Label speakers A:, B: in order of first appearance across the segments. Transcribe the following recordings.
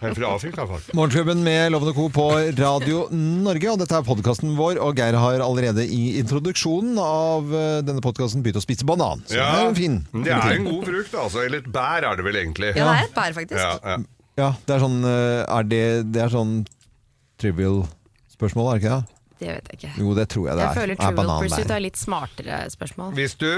A: Helt fra Afrika, faktisk.
B: Morgenklubben med Lovende Co. på Radio Norge, og dette er podkasten vår. Og Geir har allerede i introduksjonen av eh, denne podkasten begynt å spise banan. Så det er jo en fin.
A: Det er en god frukt, altså. Eller et bær er det vel egentlig.
C: Ja, det er et bær, faktisk.
A: Ja, ja.
B: Ja, det er sånn, eh, er det, det er sånn trivial spørsmål, er det ikke det?
C: Det vet jeg ikke.
B: Jo, det tror jeg det
C: Jeg
B: er.
C: føler
B: er
C: Trivial
B: banan
C: Pursuit
B: der.
C: er litt smartere spørsmål.
A: Hvis du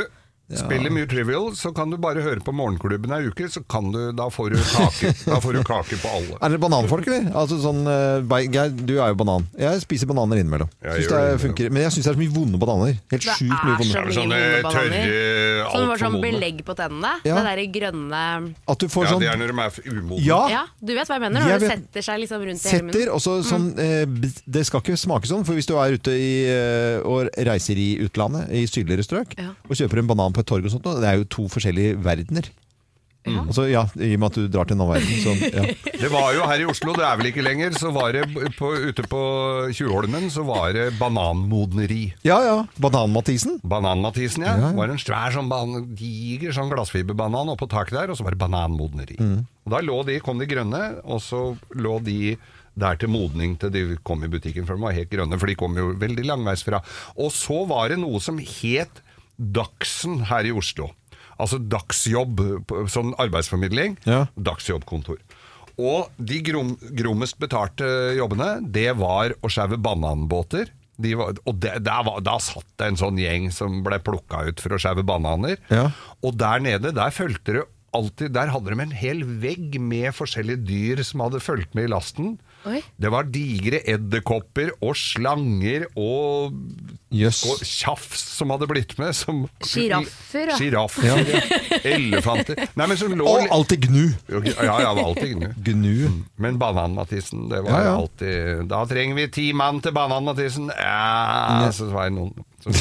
A: spiller mye trivial, så kan du bare høre på Morgenklubben ei uke, så kan du, da, får du kake. da får du kake på alle.
B: Er dere bananfolk, eller? Altså sånn, eh, Bei- Geir, du er jo banan. Jeg spiser bananer innimellom.
A: Jeg
B: Synes
A: gjør
B: det
A: det innimellom.
B: funker, men jeg syns det er så mye vonde bananer. Helt
C: Det
B: sjukt mye
C: er
B: vonde.
C: så
A: Det er vel
C: Mye
A: sånne
C: bananer.
A: tørre,
C: Sånn det var
A: altfor
C: sånn
A: modne.
C: belegg på tennene.
B: Ja.
C: Det derre grønne
B: At du får
A: Ja,
B: sånn
A: det er når de er f- umodne.
B: Ja!
C: Ja, du vet hva jeg mener?
B: Ah. Jeg
C: Når det
B: vet-
C: setter seg liksom rundt i hele munnen.
B: Setter, og så sånn eh, b- Det skal ikke smake sånn, for hvis du er ute i, eh, og reiser i utlandet, i sydligere strøk,
C: Ja.
B: og kjøper en banan på et torg og sånt, det er jo to forskjellige verdener. Altså, ja, I og med at du drar til en annen verden. Sånn, ja.
A: Det var jo her i Oslo, det er vel ikke lenger, så var det b- på, ute på Tjuvholmen så var det bananmodneri.
B: ja ja. Banan-Mathisen.
A: Bananmatisen, ja.
B: Ja, ja.
A: Var en svær sånn ban diger sånn glassfiberbanan oppå taket der, og så var det bananmodneri.
B: Mm.
A: Og da lå de, kom de grønne, og så lå de der til modning til de kom i butikken, for de var helt grønne, for de kom jo veldig langveisfra. Og så var det noe som het Dagsen her i Oslo. Altså dagsjobb, p- sånn arbeidsformidling.
B: Ja.
A: Dagsjobbkontor. Og de grom, grommest betalte jobbene, det var å skjæve bananbåter. De var, og det, der var, da satt det en sånn gjeng som ble plukka ut for å skjæve bananer.
B: Ja.
A: Og der nede, der fulgte det alltid Der hadde de en hel vegg med forskjellige dyr som hadde fulgt med i lasten.
C: Oi.
A: Det var digre edderkopper og slanger og,
B: Jøss.
A: og tjafs som hadde blitt med. som-
C: Giraffer, ja.
A: Giraffer,
B: Ja.
A: Elefanter Nei, men som lå
B: Og alltid gnu!
A: Ja, ja, det var alltid gnu.
B: Gnu.
A: Men Banan-Mathisen, det var
B: Ja, ja.
A: alltid Da trenger vi ti mann til Banan-Mathisen! Ja, så var det noen som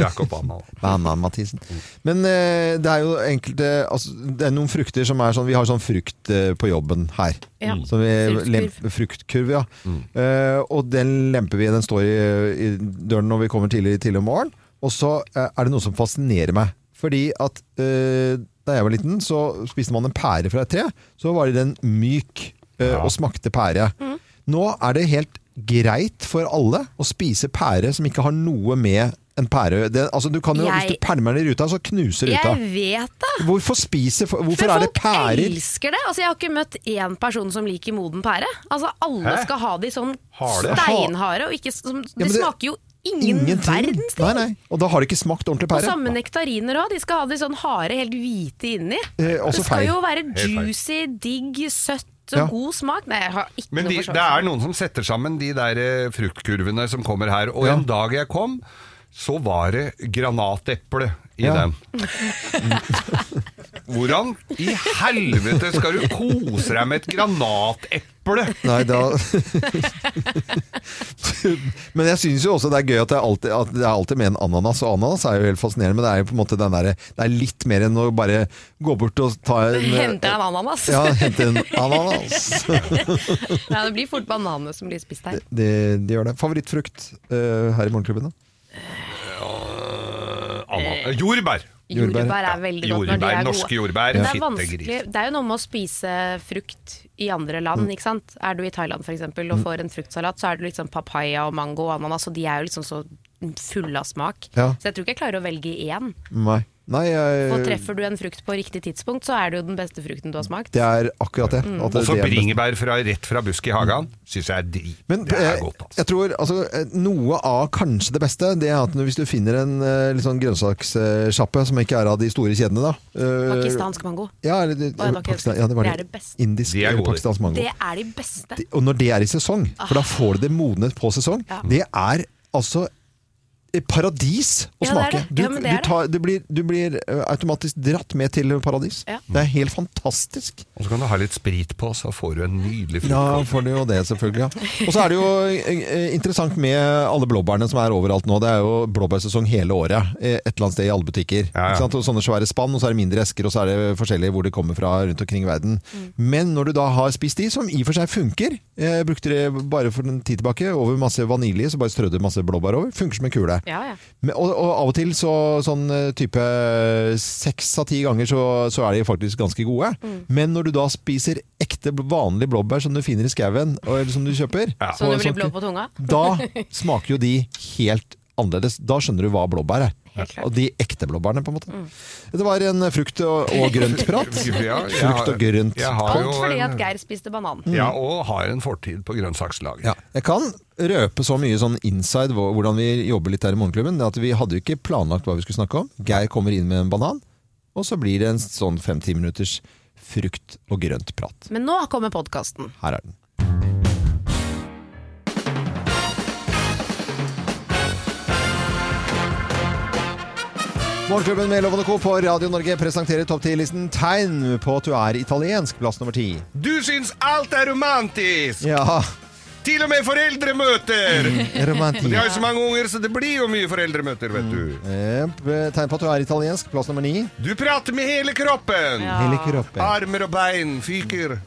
A: rakk opp hånda.
B: Banan, Mathisen. Men eh, det er jo enkelte altså, Det er noen frukter som er sånn Vi har sånn frukt eh, på jobben her.
C: Ja.
B: Som vi
C: Fruktkurv.
B: lemper- fruktkurv, ja. Eh, og den lemper vi. Den står i, i døren når vi kommer tidlig tidlig om morgenen. Og så eh, er det noe som fascinerer meg. Fordi at eh, da jeg var liten, så spiste man en pære fra et tre. Så var den myk eh,
A: Ja.
B: og smakte pære.
C: Mm.
B: Nå er det helt greit for alle å spise pære som ikke har noe med en pære det, altså, du kan jo,
C: Jeg-
B: Hvis du pælmer den i ruta, så knuser ruta.
C: Jeg vet det!
B: Hvorfor spiser fo- Hvorfor
C: Men
B: er det
C: folk
B: pærer?
C: elsker det. Altså, jeg har ikke møtt én person som liker moden pære. Altså, alle
A: Hæ?
C: skal ha de sånn
A: Harde?
C: steinharde, og ikke som, Det
B: men det-
C: smaker jo ingen verdens ting.
B: Nei, nei. Og da har det ikke smakt ordentlig
C: Og
B: pære.
C: samme nektariner òg. De skal ha de sånn harde, helt hvite inni.
B: Eh, også
C: det skal
B: feil.
C: jo være
A: feil.
C: juicy, digg, søtt og
B: Ja.
C: god smak. Nei, jeg har ikke
A: Men de,
C: noe
A: det er noen som setter sammen de der eh, fruktkurvene som kommer her. Og
B: Ja.
A: en dag jeg kom, så var det granateple i
B: Ja.
A: den. Hvordan i helvete skal du kose deg med et granateple?
B: Nei, da Men jeg syns jo også det er gøy at det er, alltid, at det er alltid med en ananas. Og ananas er jo helt fascinerende, men det er jo på en måte den derre Det er litt mer enn å bare gå bort og ta en
C: Henter en ananas.
B: Ja, hente en ananas.
C: Nei, det blir fort bananene som blir spist her.
B: Det, det gjør det. Favorittfrukt eh, her i Morgenklubben, da?
A: Ana- Eh, Jordbær!
B: Jordbær.
C: Jordbær, er veldig godt når de
A: Jordbær,
C: er
A: norske
C: gode.
A: jordbær.
C: Men det er,
A: Fittegris.
C: vanskelig, det er jo noe med å spise frukt i andre land,
B: Mm.
C: ikke sant. Er du i Thailand f.eks. og får en fruktsalat, så er det liksom papaya og mango og ananas, og de er jo liksom så fulle av smak.
B: Ja. Eh.
C: Så jeg tror ikke jeg klarer å velge én.
B: Nei. Nei jeg,
C: Og treffer du en frukt på riktig tidspunkt, så er det jo den beste frukten du har smakt.
B: Det er akkurat
C: Mm.
B: det. at
A: Og så
B: det er best.
A: bringebær fra, rett fra busk i hagen. Syns jeg er drit.
B: Men
A: det er
B: eh,
A: godt, altså.
B: jeg tror altså, eh, noe av kanskje det beste, det er at når- hvis du finner en eh, litt sånn grønnsakssjappe som ikke er av de store kjedene, da eh,
C: Pakistansk mango.
B: Ja, eller,
C: Å, ja, det var ikke-
B: Pakistan, ja, det, var
C: det er
B: det.
C: det beste.
B: Indisk
A: De er
B: eller
A: gode.
B: pakistansk mango.
C: Det er de beste.
B: Og når det er i sesong, for da får du det modnet på sesong,
C: Ja.
B: det er altså et paradis å
C: Ja, det er
B: smake.
C: det.
B: Du,
C: Ja, men
B: du,
C: det er det.
B: tar, du, blir, du blir eh, automatisk dratt med til paradis.
C: Ja.
B: Det er helt fantastisk.
A: Og så kan du ha litt sprit på, så får du en nydelig frukt.
B: Ja, får du jo det, selvfølgelig. Ja. Og så er det jo eh, interessant med alle blåbærene som er overalt nå. Det er jo blåbærsesong hele året eh, et eller annet sted i alle
A: Ja,
B: butikker.
A: ja.
B: Ikke sant? Og sånne svære spann, og så er det mindre esker, og så er det forskjellig hvor det kommer fra rundt omkring i verden. Men når du da har spist de, som i og for seg funker, Jeg brukte det bare for en tid tilbake over masse vanilje, så bare strødde masse blåbær over. Funker som en kule.
C: Ja, ja.
B: Men, og, og av og til så sånn eh, type seks av ti ganger så, så er de faktisk ganske gode.
C: Mm.
B: Men når du da spiser ekte bl- vanlige blåbær som du finner i skauen, og- eller som du kjøper
A: Ja.
C: Så
B: og sånn
C: du blir
B: sånt-
C: blå på tunga?
B: Da smaker jo de helt annerledes. Da skjønner du hva blåbær er.
C: Helt klart. Mm.
B: Og de ekte blåbærene, på en måte. Det var en frukt- og, og grøntprat.
A: Ja, jeg har-
B: Frukt og grønt.
A: Jeg har
C: Alt
A: jo
C: fordi
A: en- Mm.
C: at Geir spiste banan.
A: Ja, og har en fortid på grønnsakslaget.
B: Ja. Jeg kan røpe så mye sånn inside hvor- hvordan vi jobber litt her i Morgenklubben. det At vi hadde jo ikke planlagt hva vi skulle snakke om. Geir kommer inn med en banan, og så blir det en sånn fem-ti minutters frukt- og grøntprat.
C: Men nå kommer podkasten.
B: Her er den. Morgenklubben med Lovende Co. på Radio Norge presenterer topp 10-listen Tegn på at du er italiensk, plass nummer ti.
A: Du syns alt er romantisk!
B: Ja,
A: Til og med foreldremøter!
B: Mm. romantikk.
A: De har jo så mange unger, så det blir jo mye foreldremøter, vet
B: Mm.
A: du.
B: Jep, eh, Tegn på at du er italiensk, plass nummer ni.
A: Du prater med hele kroppen!
C: Ja.
B: Hele kroppen.
A: Armer og bein fyker.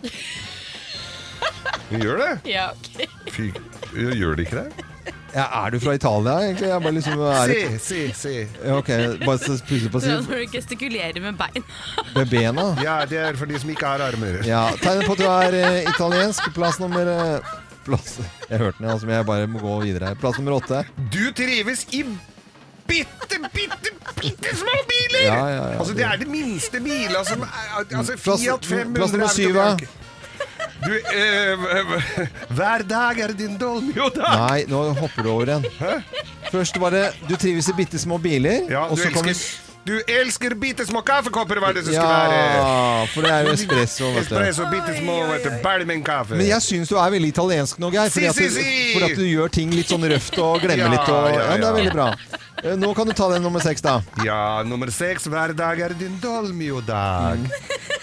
A: Gjør det?
C: Ja,
A: Fyker. Gjør de ikke det?
B: Ja, er du fra Italia, egentlig? Jeg bare liksom er...
A: Se, se, se.
B: Ja, Ok, bare så plutselig på å si
C: Når du gestikulerer med bein.
B: med bena.
A: Ja, det er for de som ikke har armer.
B: Ja, tegnet på at du er eh, italiensk. Plass nummer eh, Plass Jeg hørte den, altså, men jeg bare må gå videre her. Plass nummer åtte.
A: Du trives i bitte, bitte, bitte små biler!
B: Ja, ja, ja.
A: altså, det er det minste biler som er- altså,
B: Plass-
A: Fiat 500
B: plass nummer
A: er
B: syv,
A: vel
B: da?
A: ikke- Du, eh, hver dag er din dolmio dag.
B: Nei, nå hopper du over en. Først var det Du trives i bitte små biler.
A: Ja, du
B: og så kom
A: elsker, du elsker bitte små kaffekopper, hva er det som skal være?
B: Ja, for det er jo espresso, vet du.
A: Espresso, bitte små, vet du, balmenkaffe.
B: Men jeg syns du er veldig italiensk nå, Geir. Fordi
A: Si,
B: at, du,
A: si, si!
B: fordi at du gjør ting litt sånn røft og glemmer
A: Ja,
B: litt. Og,
A: ja,
B: ja, det er
A: ja.
B: veldig bra. Eh, Nå kan du ta den nummer seks, da.
A: Ja, nummer seks. Hver dag er din dolmio-dag.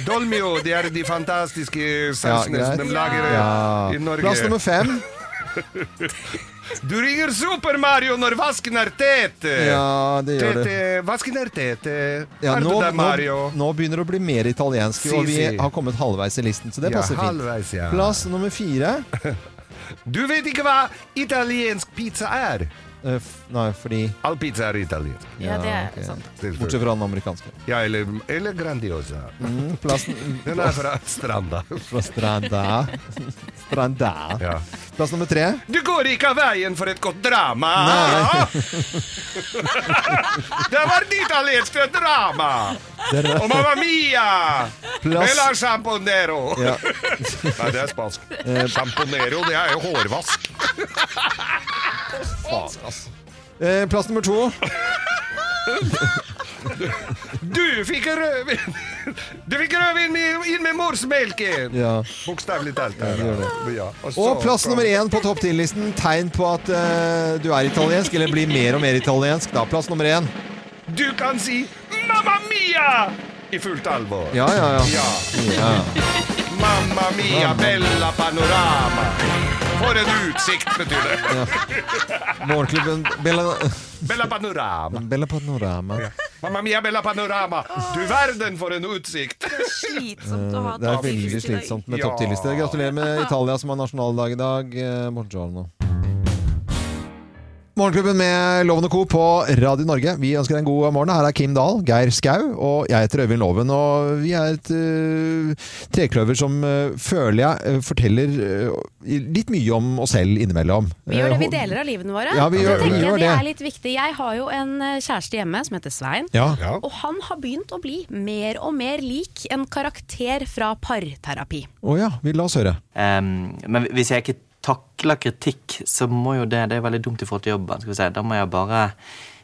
A: Dolmio, det er de fantastiske sausene
B: greit.
A: som de lager eh,
B: Ja.
A: i Norge.
B: Plass nummer fem.
A: Du ringer Super Mario når vasken er tett!
B: Ja, det gjør det.
A: tete, vasken er tete.
B: Ja,
A: er
B: nå,
A: du der,
B: nå,
A: Mario?
B: nå begynner det å bli mer italiensk,
A: Si,
B: og vi
A: si.
B: har kommet halvveis i listen, så det
A: ja,
B: passer fint.
A: halvveis, ja.
B: Plass nummer fire.
A: Du vet ikke hva italiensk pizza er?
B: Eh, f- Nei, fordi
A: All pizza er italiensk.
C: Ja, det er
B: ok.
C: sant.
A: selvfølgelig.
B: Bortsett fra den amerikanske.
A: Ja, eller, eller Grandiosa.
B: Mm, Plass,
A: Den er fra Stranda.
B: fra Stranda. Stranda.
A: Ja.
B: Plass nummer tre.
A: Du går ikke av veien for et godt drama! det var det italienske drama!
B: Der-
A: Og mamma mia!
B: Plass,
A: Eller champonero!
B: ja. Eh.
A: Nei, det er spansk. Champonero, det er jo hårvask. Faen, altså.
B: Eh, plass nummer to.
A: Du fikk rødvin Du fikk rødvin med- inn med morsmelken!
B: Ja.
A: Bokstavelig talt. her,
B: gjør
A: da. Ja, så-
B: Og plass nummer én på topp 10-listen. Tegn på at eh, du er italiensk, eller blir mer og mer italiensk. Da, plass nummer én.
A: Du kan si 'Mamma mia' i fullt alvor.
B: Ja, ja, ja.
A: Ja.
B: ja.
A: Mamma mia, bella panorama. For en utsikt, betyr det.
B: Morgenklubben Bella
A: Bella panorama.
B: Bella Panorama.
A: Mamma mia, bella panorama. Du verden, for en utsikt!
D: Slitsomt å ha
B: Det er veldig slitsomt med
A: Ja.
B: topp 10-liste. Gratulerer med Italia som har nasjonaldag i dag. Eh, Buongiorno. Morgenklubben med Loven og Co. på Radio Norge. Vi ønsker deg en god morgen. Her er Kim Dahl, Geir Skau og jeg heter Øyvind Loven. Og vi er et eh, trekløver som eh, føler jeg eh, forteller eh, litt mye om oss selv innimellom.
C: Vi gjør det, vi
B: Eh,
C: deler av livene våre.
B: Ja, vi
C: Og
B: gjør-
C: så tenker
B: vi
C: jeg
B: gjør
C: det
B: det.
C: er litt viktig. Jeg har jo en eh, kjæreste hjemme som heter Svein.
B: Ja.
A: Ja.
C: Og han har begynt å bli mer og mer lik en karakter fra parterapi.
B: Å ja. Vi la oss høre.
E: Ehm, men hvis jeg ikke takler kritikk, så må jo det Det er veldig dumt i forhold til jobben. Skal vi si. Da må jeg bare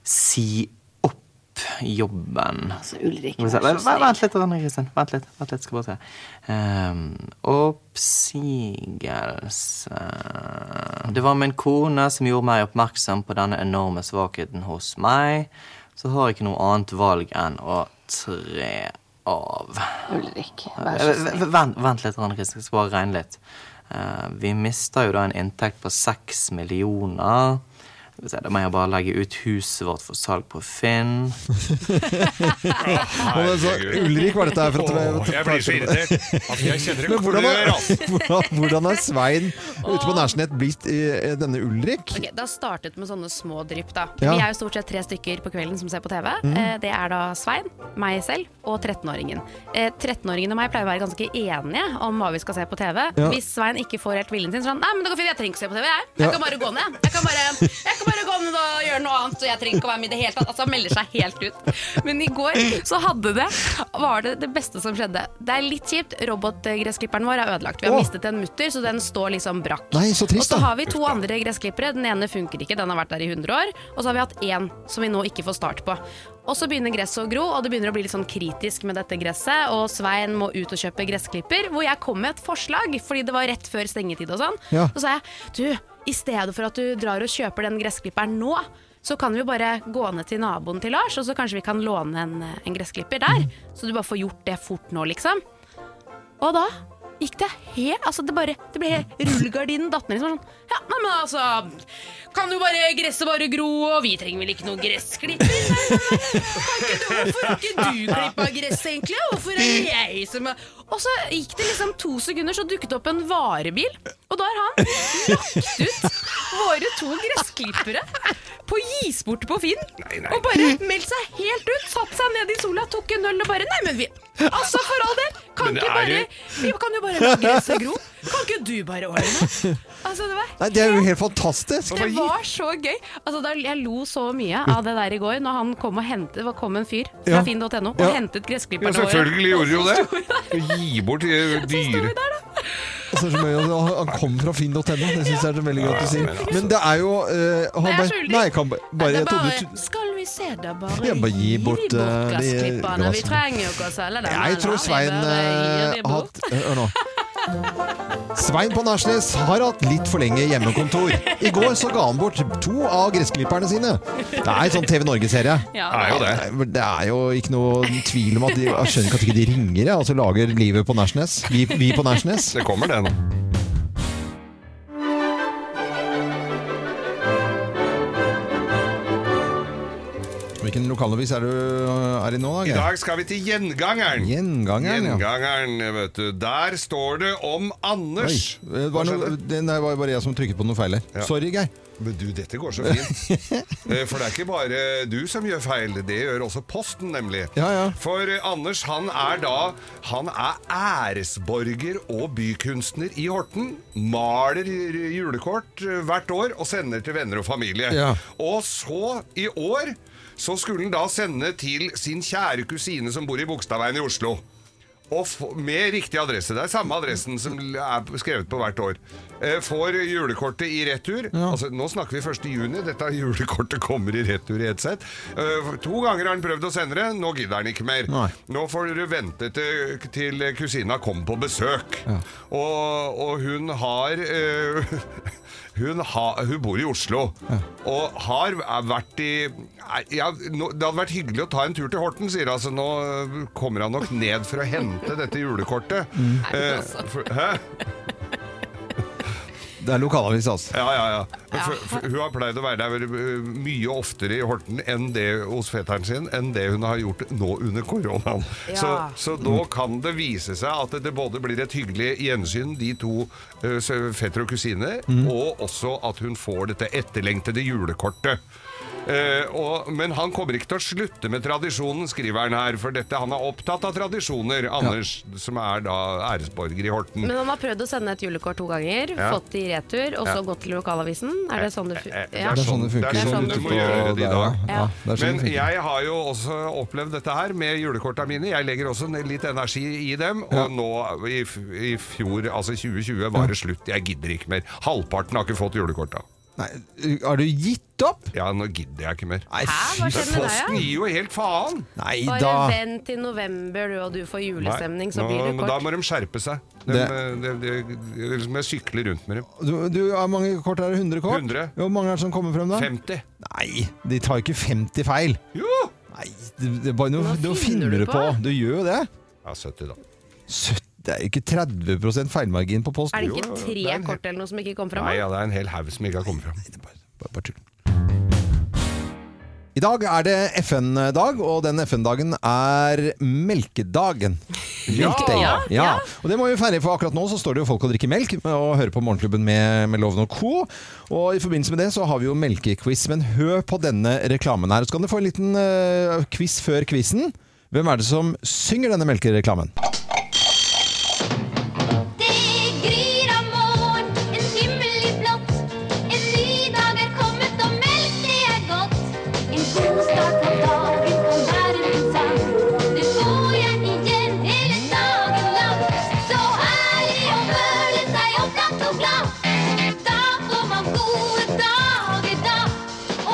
E: si opp jobben.
D: Altså, Ulrik,
E: Skal vi se.
D: vær så
E: Vent vent
D: snill.
E: litt, Anne Kristin. Vent litt. vent litt, skal bare se. Ehm, oppsigelse Det var min kone som gjorde meg oppmerksom på denne enorme svakheten hos meg. Så har jeg ikke noe annet valg enn å tre av.
D: Ulrik, vær så
E: Eh,
D: snill.
E: Vent, vent litt, Anne Kristin. Jeg skal bare regne litt. Eh, vi mister jo da en inntekt på seks millioner. Skal vi se, Da må jeg bare legge ut huset vårt for salg på Finn.
B: Og det er så, Ulrik var dette her for
A: Åh,
B: at
A: jeg blir så irritert. Altså, jeg kjenner det
B: Men hvordan
A: klør,
B: er,
A: altså.
B: hvordan, hvordan er Svein ute på Nærsnett blitt eh, denne Ulrik?
C: Ok, Det har startet med sånne små drypp. da
B: Ja. Mm.
C: Vi er jo stort sett tre stykker på kvelden som ser på TV. Eh, Det er da Svein, meg selv og 13-åringen. Eh, 13-åringen og meg pleier å være ganske enige om hva vi skal se på TV.
B: Ja.
C: Hvis Svein ikke får helt viljen sin, sånn Nei, men det går fint, jeg trenger ikke å se på TV, jeg.
B: Ja.
C: Jeg kan bare gå ned. Jeg kan bare, jeg kan bare gå ned og gjøre noe annet, og jeg trenger ikke å være med i det hele tatt. Altså, han melder seg helt ut. Men i går så hadde det Var det det beste som skjedde. Det er litt kjipt. Robotgressklipperen vår er ødelagt. Vi har
B: Åh.
C: mistet en mutter, så den står liksom brakk.
B: Nei, så trist,
C: Og så
B: da.
C: har vi to andre gressklippere. Den ene funker ikke, den har vært der i 100 år. Og så har vi hatt én som vi nå ikke får start på. Og så begynner gresset å gro, og det begynner å bli litt sånn kritisk med dette gresset. Og Svein må ut og kjøpe gressklipper, hvor jeg kom med et forslag, fordi det var rett før stengetid og sånn.
B: Ja.
C: Så sa jeg du, i stedet for at du drar og kjøper den gressklipperen nå, så kan vi jo bare gå ned til naboen til Lars, og så kanskje vi kan låne en, en gressklipper der. Så du bare får gjort det fort nå, liksom. Og da gikk det helt Altså, det bare Det ble helt Rullegardinen datt ned, liksom. Sånn. Ja, nei, men altså Kan jo bare gresset bare gro, og vi trenger vel ikke noen gressklipper? Nei, nei, nei. Kan ikke du, hvorfor har ikke du klippa gress, egentlig? Hvorfor er det jeg som er Og så gikk det liksom to sekunder, så dukket det opp en varebil, og da har han lagt ut våre to gressklippere på gisborte på Finn. Og bare meldt seg helt ut, satt seg ned i sola, tok en øl og bare Nei, men vi Altså, for all del! Kan
A: Men
C: ikke
A: det er
C: bare
A: jo-
C: Vi kan jo bare la gresset gro. Kan ikke du bare ordne det? Altså, det var
B: Nei, det er jo helt fantastisk!
C: det var så gøy! Altså, da, jeg lo så mye av det der i går, når han kom og hentet Det var- kom en fyr fra
B: Ja.
C: finn.no og
B: Ja.
C: hentet
A: Ja,
C: gressklipperne
A: selvfølgelig gjorde jo
C: Og så sto vi
A: det. Gi bort eh, dyre
C: der, da.
B: Altså, det er så mye, og han kom fra finn.no, det syns jeg er så veldig godt å si. Men det er jo eh, han
C: Nei, jeg
B: bare-
C: skylder.
B: Nei, jeg kan bare,
C: Nei,
B: bare
C: det
B: jeg
C: er
B: trodde
C: bare Skal vi se, da bare
B: Ja, bare gi bort, eh,
C: vi
B: de
C: gressklipperne. Vi
B: glassene.
C: trenger jo ikke å selge dem.
B: Jeg tror Svein eh, har hatt Hør nå. Svein på Nærsnes har hatt litt for lenge hjemmekontor. I går så ga han bort to av gressklipperne sine. Det er en sånn TV Norge-serie.
C: Ja.
A: er jo det.
B: Nei, men Det er jo ikke noe tvil om at de Jeg skjønner ikke at ikke de ringer, jeg, altså lager livet på Nærsnes. Vi, vi på Nærsnes.
A: Det kommer, det nå.
B: Hvilken lokalavis er du er i nå,
A: I
B: da?
A: dag skal vi til Gjengangeren.
B: Gjengangeren, ja.
A: Gjengangeren, vet du. Der står det om
B: Oi,
A: Anders.
B: det var, noe, det nei, det var bare jeg som trykket på noe feil her.
A: Ja.
B: Sorry, Geir.
A: Men du, dette går så fint. Eh, For det er ikke bare du som gjør feil, det gjør også Posten, nemlig.
B: Ja, ja.
A: For eh, Anders, han er da Han er æresborger og bykunstner i Horten. Maler eh, julekort eh, hvert år og sender til venner og familie.
B: Ja.
A: Og så, i år, så skulle han da sende til sin kjære kusine som bor i Bogstadveien i Oslo. Og f- med riktig adresse. Det er samme adressen som l- er skrevet på hvert år. Eh, Får julekortet i retur. Altså, nå snakker vi 1. juni. Dette julekortet kommer i retur i et sett. Eh, To ganger har han prøvd å sende det. Nå gidder han ikke mer.
B: Nei.
A: Nå får dere vente til, til kusina kommer på besøk. Og, og hun har eh, hun, har- hun bor i Oslo og har vært i er- ja, nå, Det hadde vært hyggelig å ta en tur til Horten, sier han. Altså, nå eh, kommer han nok ned for å hente dette julekortet. Eh, for, hæ?
B: Det er lokalavis, altså.
A: Ja, ja, ja. Men For, for, hun har pleid å være der veldig, eh, mye oftere i Horten enn det hos fetteren sin, enn det hun har gjort nå under koronaen. Så,
C: Ja.
A: så nå kan det vise seg at det både blir et hyggelig gjensyn, de to eh, sø- fetter og kusine, og også at hun får dette etterlengtede julekortet. Eh, og, men han kommer ikke til å slutte med tradisjonen, skriver han her. For dette, han er opptatt av tradisjoner, Anders, som er da æresborger i Horten.
C: Men han har prøvd å sende et julekort to ganger,
A: Ja.
C: fått det i retur, og så gått til lokalavisen. Er det sånn det
A: Eh,
C: funker?
A: det er
C: Ja.
B: Det er sånn det
A: Det er
B: funker.
A: sånn
C: du
B: ute
C: må
B: på
A: gjøre det i
B: der,
A: dag.
B: Ja. Ja, det er sånn
A: Men
B: det funker.
A: jeg har jo også opplevd dette her med julekorta mine. Jeg legger også ned litt energi i dem. Og nå i, f- i fjor, altså 2020, var det slutt. Jeg gidder ikke mer. Halvparten har ikke fått julekorta.
B: Nei, har du gitt opp?
A: Ja, nå gidder jeg ikke mer.
B: Nei,
C: Hæ? Hva
B: fy-
C: skjer med deg,
A: Posten gir jo helt faen!
B: Nei
C: ja?
B: da.
C: Bare vent til november, du, og du får julestemning, så
A: Nei,
C: blir
A: nå-
C: det
A: men Da
C: kort.
A: må de skjerpe seg. De,
B: Det-
A: de, de, de, ellers må jeg sykle rundt med dem.
B: Du, du har mange kort her. 100 kort?
A: 100.
B: Hvor mange er det som kommer frem da?
A: 50.
B: Nei, de tar ikke 50 feil.
A: Jo!
B: Nei, det, det er bare noe,
C: Hva
B: noe finner du på. Du gjør jo det.
A: Ja, 70, da.
B: Søtt, det er jo ikke 30 feilmargin på post.
C: Er det
B: Jo,
C: ikke
A: det er
C: tre
A: en-
C: kort eller noe som ikke kom fram?
A: Nei, ja, det er en hel haug som ikke har kommet fram.
B: det er bare, bare, bare tull. I dag er det FN-dag, og den FN-dagen er melkedagen. Melkedag.
C: Ja,
B: ja. Og det må vi feire, for akkurat nå så står det jo folk og drikker melk og hører på Morgenklubben med, med Loven og Co. Og i forbindelse med det så har vi jo melkequiz, men hør på denne reklamen her. Så kan du få en liten eh, quiz før quizen. Hvem er det som synger denne melkereklamen?
F: Det gryr av morgen, en himmelig blått. En ny dag er kommet, og melk det er godt. En god start på dagen kan være min sang. Nå går jeg igjen hele dagen lang. Så herlig å føle seg opplagt og glad. Da får man gode dager da.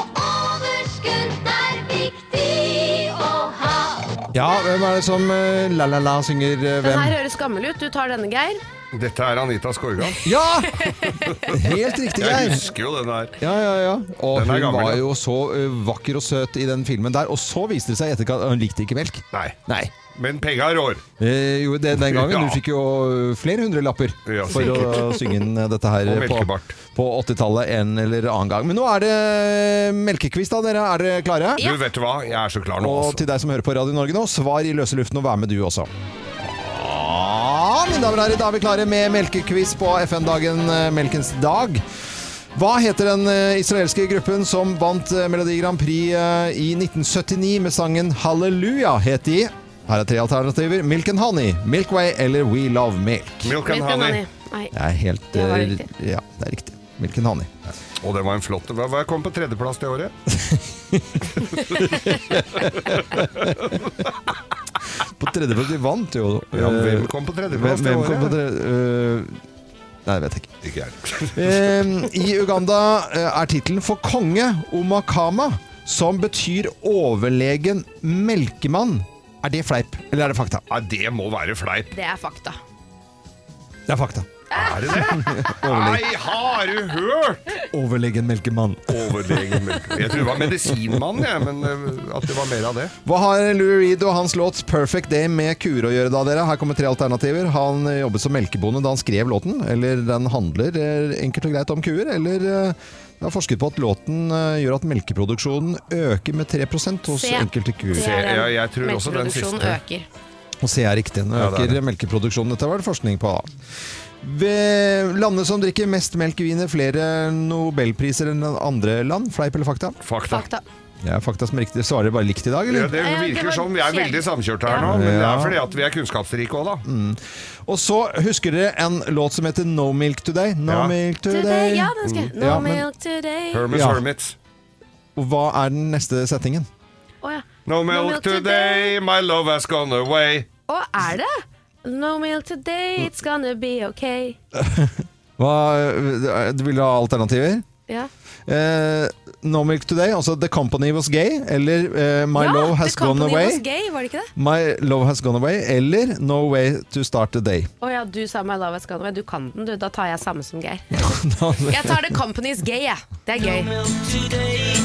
F: Og overskudd er viktig å ha.
B: Ja, hvem er det som eh, la-la-la synger eh,
C: Den
B: hvem?
C: her høres gammel ut. Du tar denne, Geir.
A: Dette er Anita Skorgan.
B: Ja! Helt riktig,
A: Jeg
B: Geir.
A: husker jo den her.
B: Ja, ja, ja. Og
A: Den
B: hun
A: er gammel,
B: var
A: ja.
B: jo så ø, vakker og søt i den filmen der. Og så viste det seg i etterkant at hun likte ikke melk.
A: Nei.
B: Nei.
A: Men penga rår.
B: Eh, jo, det den gangen.
A: Ja.
B: Du fikk jo ø, flere hundre lapper
A: Ja,
B: for å synge inn dette her
A: Og
B: på,
A: melkebart.
B: på 80-tallet en eller annen gang. Men nå er det eh, melkekvist, da, dere. Er dere klare?
A: Du, vet du hva? Jeg er så klar nå,
B: Og
A: altså.
B: til deg som hører på Radio Norge nå, svar i løse luften og vær med du også. Ja, mine damer og herrer, da er vi klare med melkekviss på FN-dagen, eh, Melkens dag. Hva heter den eh, israelske gruppen som vant eh, Melodi Grand Prix eh, i 1979 med sangen Halleluja? Het de Her er tre alternativer. Milk and Honey, Milkway eller We Love Milk.
A: Milk and honey.
C: Nei.
B: Det er helt
C: Det var
B: eh,
C: riktig.
B: Ja, det er riktig. Milk and Honey.
A: Og det var en flott Hva hva kom på tredjeplass det året?
B: På tredjeplass, de vant jo.
A: Ja, hvem
B: Eh,
A: kom på tredjeplass
B: hvem,
A: det
B: hvem kom på
A: året?
B: tredje... eh, Nei, jeg vet ikke.
A: Ikke jeg.
B: Eh, I Uganda eh, er tittelen for konge Omakama, som betyr overlegen melkemann. Er det fleip, eller er det fakta?
A: Nei, det må være fleip.
C: Det er fakta.
B: Det er fakta.
A: Er det det? Nei, har du hørt?
B: Overlegen melkemann.
A: Overlegen Milk. Jeg tror det var medisinmann, jeg, men eh, at det var mer av det.
B: Hva har Lou Reed og hans låt 'Perfect Day' med kuer å gjøre da, dere? Her kommer tre alternativer. Han eh, jobbet som melkebonde da han skrev låten, eller den handler eh, enkelt og greit om kuer, eller eh, jeg har forsket på at låten eh, gjør at melkeproduksjonen øker med 3 hos
C: Se.
B: enkelte kuer.
C: Det
A: Se,
C: er den.
A: ja, jeg tror også den siste.
C: Melkeproduksjonen øker.
B: Og C er riktig. Nå
A: Ja, det er
B: øker melkeproduksjonen. Dette var det forskning på. da. Ved landet som drikker mest melk, vinner flere nobelpriser enn andre land. Fleip eller fakta?
A: Fakta.
C: Fakta.
B: Det er fakta som er riktig. Svarer dere bare likt i dag,
A: Ja,
B: eller?
A: det
C: Ja, det
A: virker
C: var
A: som vi er
C: kjedelig.
A: veldig samkjørte her nå, men det er fordi at vi er kunnskapsrike òg, da.
B: Mm. Og så husker dere en låt som heter No Milk Today. No
A: Ja.
B: Milk
C: Today,
B: Today. Mm,
C: ja, den skal jeg. No
B: Ja, men-
C: milk today. Å
A: Hermes
B: Ja.
A: Hermits.
B: Og hva er den neste setningen?
C: ja.
A: No milk today, my love has gone away.
C: Å, er det? No milk today, it's gonna be okay.
B: Hva, du vil ha alternativer?
C: Ja.
B: Eh, no Milk Today, altså The Company Was Gay, eller eh, My
C: ja,
B: Love Has
C: The
B: Gone
C: Company
B: Away.
C: Was gay, var det ikke det?
B: My Love Has Gone Away, eller No Way To Start The Day.
C: Å ja, du sa My Love Has Gone Away. Du kan den, du. Da tar jeg samme som Geir. Jeg tar The Company's Gay, jeg. Det er gøy.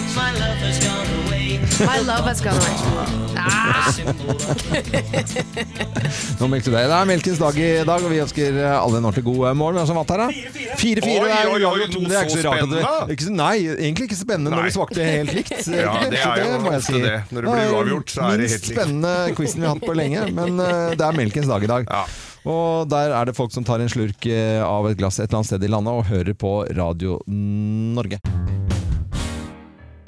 C: My Love Has Gone Away. Ah,
B: Nå melkte du deg. Det er melkens dag i dag, og vi ønsker alle en ordentlig god eh, morgen. Hvem er det som vant her, da? 4-4.
A: Oi,
B: det er
A: oi, oi,
B: uavgjort,
A: noe
B: men det er ikke
A: så
B: så rart at det-
A: spennende.
B: ikke så- Nei, egentlig ikke så spennende når
A: Nei.
B: vi svarte helt likt. Eh,
A: Ja, det
B: Så
A: er jo
B: må jeg
A: ofte det. Når det blir
B: er
A: uavgjort, så er det helt
B: Minst
A: likt.
B: spennende quizen vi har hatt på lenge, men eh, det er melkens dag i dag.
A: Ja.
B: Og der er det folk som tar en slurk eh, av et glass et eller annet sted i landet og hører på Radio Norge.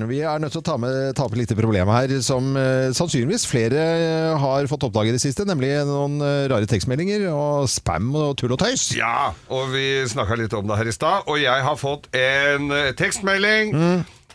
B: Vi er nødt til å ta, med, ta opp et lite problem her, som eh, sannsynligvis flere eh, har fått oppdage i det siste. Nemlig noen eh, rare tekstmeldinger og spam og tull og tøys.
A: Ja, og vi snakka litt om det her i stad, og jeg har fått en eh, tekstmelding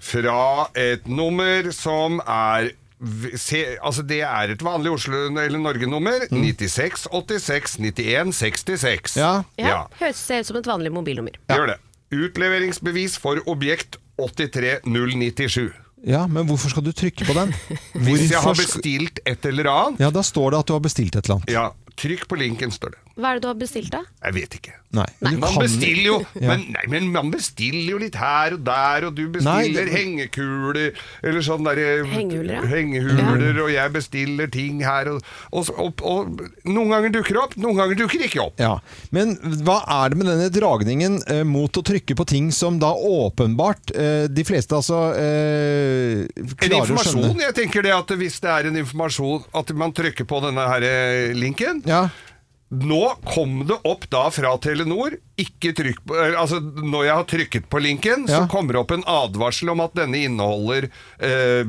A: fra et nummer som er v- Se, altså det er et vanlig Oslo- eller Norge-nummer.
B: Mm.
A: 96 86 91 66.
B: Ja.
C: ja. Høres ut som et vanlig mobilnummer.
A: Gjør det. Utleveringsbevis for objekt 83097.
B: Ja, Men hvorfor skal du trykke på den?
A: Hvis jeg har
B: Hvorfor sk-
A: bestilt et eller annet
B: Ja, Da står det at du har bestilt et eller annet.
A: Ja, Trykk på linken, står det.
C: Hva er det du har bestilt, da?
A: Jeg vet ikke.
B: Nei. men du
A: Man
B: kan-
A: bestiller jo
B: Ja.
A: men, nei, men man bestiller jo litt her og der, og du bestiller
B: Nei, det-
A: hengekuler eller sånn derre
C: Hengehuler, ja.
A: hengehuler, og jeg bestiller ting her og, og, så- og, og Noen ganger dukker det opp, noen ganger dukker det ikke opp.
B: Ja, Men hva er det med denne dragningen eh, mot å trykke på ting som da åpenbart eh, de fleste altså eh,
A: En
B: klarer å
A: informasjon,
B: skjønne?
A: jeg tenker det at hvis det er en informasjon at man trykker på denne her eh, linken
B: Ja,
A: Nå kom det opp da fra Telenor ikke trykk på, eh, altså Når jeg har trykket på linken, så
B: Ja.
A: kommer det opp en advarsel om at denne inneholder eh,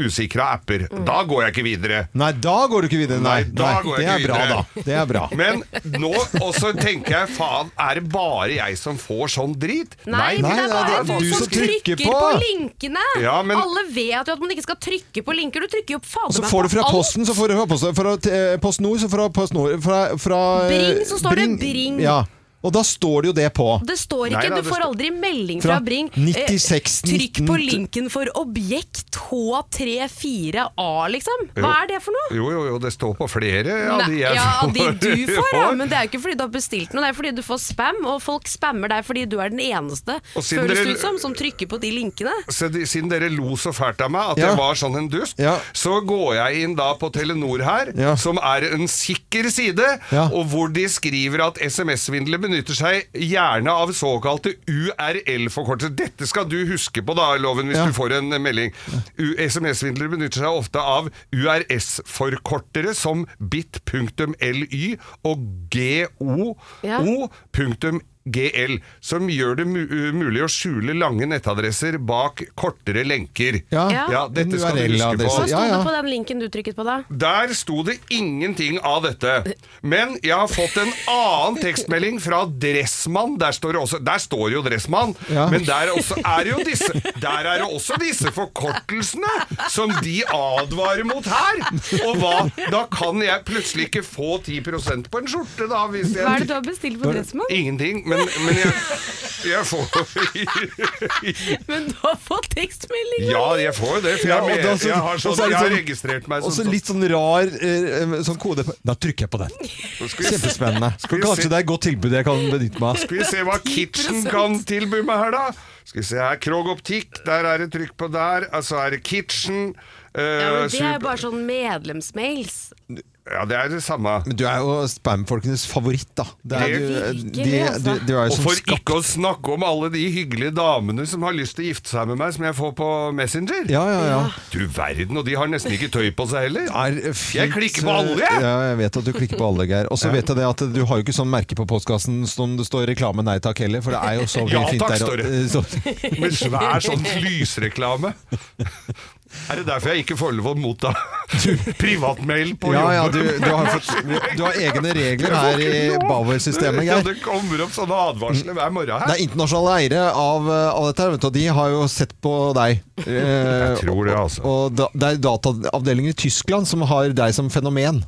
A: usikra apper.
C: Mm.
A: Da går jeg ikke videre.
B: Nei, da går du ikke videre. Nei,
A: Nei, da går
B: det
A: jeg
B: er
A: ikke
B: bra,
A: videre.
B: da. Det er bra.
A: Men nå også tenker jeg faen, er det bare jeg som får sånn drit?
C: Nei,
B: nei,
C: men det er bare
B: nei, det er
C: folk
B: du
C: som
B: som
C: trykker,
B: trykker
C: på.
B: på.
C: linkene!
A: Ja, men-
C: Alle vet jo at man ikke skal trykke på linker. Du trykker jo fader
B: Så
C: meg
B: får du fra
C: alt.
B: Posten, så får du fra Posten, fra eh, Post Nord, så fra Post Nord fra, fra eh,
C: Bring, så står det Bring.
B: Ja, og da står det jo det på.
C: Det står ikke,
A: Nei da,
C: du
A: det
C: får
A: står-
C: aldri melding
B: Fra
C: fra, Bring. Eh,
B: 96,
C: trykk på
B: 19.
C: linken for objekt H34A, liksom. Hva
A: Jo.
C: er det for noe?
A: Jo, jo, jo, det står på flere av de
C: Nei,
A: jeg
C: ja, av de du får, ja,
A: får.
C: men det er jo ikke fordi du har bestilt noe, det er fordi du får spam, og folk spammer deg fordi du er den eneste,
A: Og siden
C: føles
A: dere-
C: det ut som, som trykker på de linkene.
A: Så de, siden dere lo så fælt av meg at
B: Ja.
A: jeg var sånn en dust,
B: Ja.
A: så går jeg inn da på Telenor her,
B: Ja.
A: som er en sikker side,
B: Ja.
A: og hvor de skriver at SMS-svindler benytter seg gjerne av såkalte URL-forkortelser. Dette skal du huske på da, Loven, hvis
B: Ja.
A: du får en melding. U- SMS-svindler benytter seg ofte av URS-forkortere som bit.ly og go.o.
C: Ja.
A: Punktum GL, som gjør det mu uh, mulig å skjule lange nettadresser bak kortere lenker.
B: Ja,
C: Ja.
A: dette skal du huske på.
B: URL-adresser.
C: Hva sto
B: Ja, ja.
C: det på den linken du trykket på da?
A: Der sto det ingenting av dette. Men jeg har fått en annen tekstmelding fra Dressmann. Der står, det også, der står jo Dressmann,
B: Ja.
A: men der, også er jo disse, der er det også disse forkortelsene som de advarer mot her. Og hva? Da kan jeg plutselig ikke få 10 på en skjorte, da. Hvis jeg
C: Hva er det du har bestilt på Dressmann?
A: Ingenting, men, men jeg, jeg får
C: Men du har fått tekstmelding!
A: Ja, jeg får jo det, for jeg,
B: Ja,
A: er
B: og
A: med,
B: da så-
A: jeg, har,
B: og
A: sånn,
B: så er det
A: jeg har
B: sånn-
A: registrert meg
B: Og så
A: som
B: litt sånn rar eh, sånn kode på- Da trykker jeg på den.
A: sånn- skal vi, se-
B: Kjempespennende.
A: vi
B: Kanskje
A: se-
B: det er et godt tilbud jeg kan benytte meg av.
A: skal vi se hva Kitchen kan tilby meg her, da. Skal vi se her, Krog Optikk, der er det trykk på der. Altså er det Kitchen. eh,
C: Ja, men det er jo
A: super-
C: bare sånn medlemsmails.
A: ja, det er det samme.
B: Men du er jo spamfolkenes favoritt, da. Det er, du,
C: Virkelig,
B: de, du,
C: altså.
B: du er jo
A: Og
B: som
A: for
B: skapt
A: ikke å snakke om alle de hyggelige damene som har lyst til å gifte seg med meg, som jeg får på Messenger.
B: Ja, ja, ja.
A: Du verden, og de har nesten ikke tøy på seg heller.
B: Er fint,
A: Jeg klikker på alle, jeg!
B: jeg! Ja, jeg vet at du klikker på alle, Geir. Og så vet jeg det at du har jo ikke sånn merke på postkassen som det står reklame nei takk heller, for det er jo så
A: Ja,
B: fint
A: takk,
B: der.
A: står det.
B: eh, så-
A: Med svær sånn lysreklame. Er det derfor jeg ikke får lov å motta privatmail på
B: Ja, ja,
A: jobben?
B: du, du, har fått, du har egne regler her i Bauer-systemet,
A: Ja,
B: Geir.
A: det kommer opp sånne advarsler hver morgen
B: Det
A: her.
B: er internasjonale eiere av, eh, av dette, her, vet du, og de har jo sett på deg. Eh,
A: Jeg tror det, altså.
B: og da, det er dataavdelinger i Tyskland som har deg som fenomen.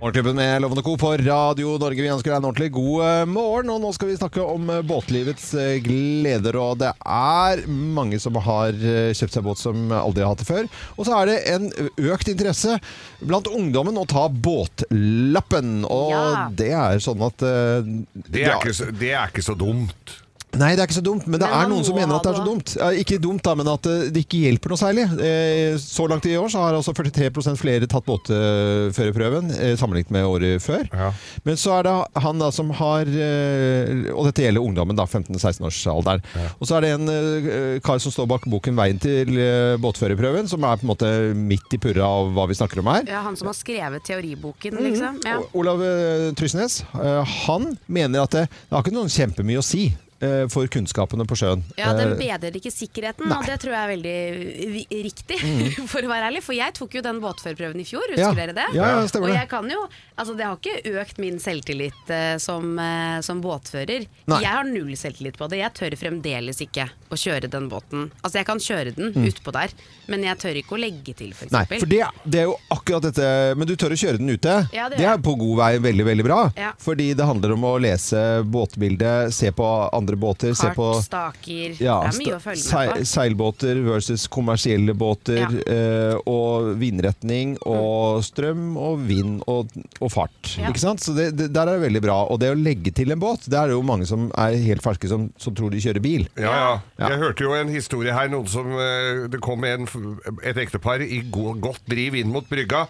B: Morgenklubben med Lovende Co. på Radio Norge. Vi ønsker deg en ordentlig god eh, morgen. Og nå skal vi snakke om eh, båtlivets eh, gleder. Og det er mange som har eh, kjøpt seg båt som aldri har hatt det før. Og så er det en økt interesse blant ungdommen å ta båtlappen. Og
C: Ja.
B: det er sånn at eh,
A: Det er, ikke så, det er ikke så dumt.
B: Nei, det er ikke så dumt, men det
C: Men
B: er
C: man
B: noen som
C: må
B: mener at det er
C: ha
B: så
C: det.
B: dumt. Ja, ikke dumt, da, men at eh, det ikke hjelper noe særlig. Eh, Så langt i år så har altså 43 flere tatt båtførerprøven eh, sammenlignet med året før.
A: Ja.
B: Men så er det han da som har eh, Og dette gjelder ungdommen, da, 15-16-årsalderen. Og så er det en eh, kar som står bak boken 'Veien til eh, båtførerprøven', som er på en måte midt i purra av hva vi snakker om her.
C: Ja, han som har skrevet
A: Mm.
C: teoriboken, liksom. Ja.
B: O- Olav eh, Trysnes eh, han mener at det, det har ikke noen kjempemye å si eh, for kunnskapene på sjøen.
C: Ja, Den
B: Eh,
C: bedrer ikke sikkerheten, og det tror jeg er veldig eh, vi- riktig. For å være ærlig, for jeg tok jo den båtførerprøven i fjor, husker
B: Mm. Ja.
C: dere det?
B: Ja, ja, stemmer
C: og
B: det.
C: jeg kan jo, altså det har ikke økt min selvtillit eh, som, eh, som båtfører.
B: Nei.
C: Jeg har null selvtillit på det, jeg tør fremdeles ikke å kjøre den båten. Altså jeg kan kjøre den utpå der, men jeg tør ikke å legge til for
B: Mm. Nei,
C: eksempel.
B: for det, det er jo akkurat dette Men du tør å kjøre den ute.
C: Ja, det
B: det
C: gjør
B: er på god vei veldig, veldig bra.
C: Ja.
B: Fordi det handler om å lese båtbildet, se på andre båter. Se på
C: Kartstaker.
B: ja,
C: det er mye å følge
B: sei-
C: med på.
B: seilbåter versus kommersielle båter.
C: Ja. Mm.
B: eh, og vindretning og strøm og vind og, og fart.
C: Ja.
B: Ikke sant? Så det, det, der er det veldig bra. Og det å legge til en båt, det er det jo mange som er helt ferske som, som tror de kjører bil.
A: Ja, ja. Jeg hørte jo en historie her. Noen som, eh, det kom en, f- et ektepar i go- godt driv inn mot brygga,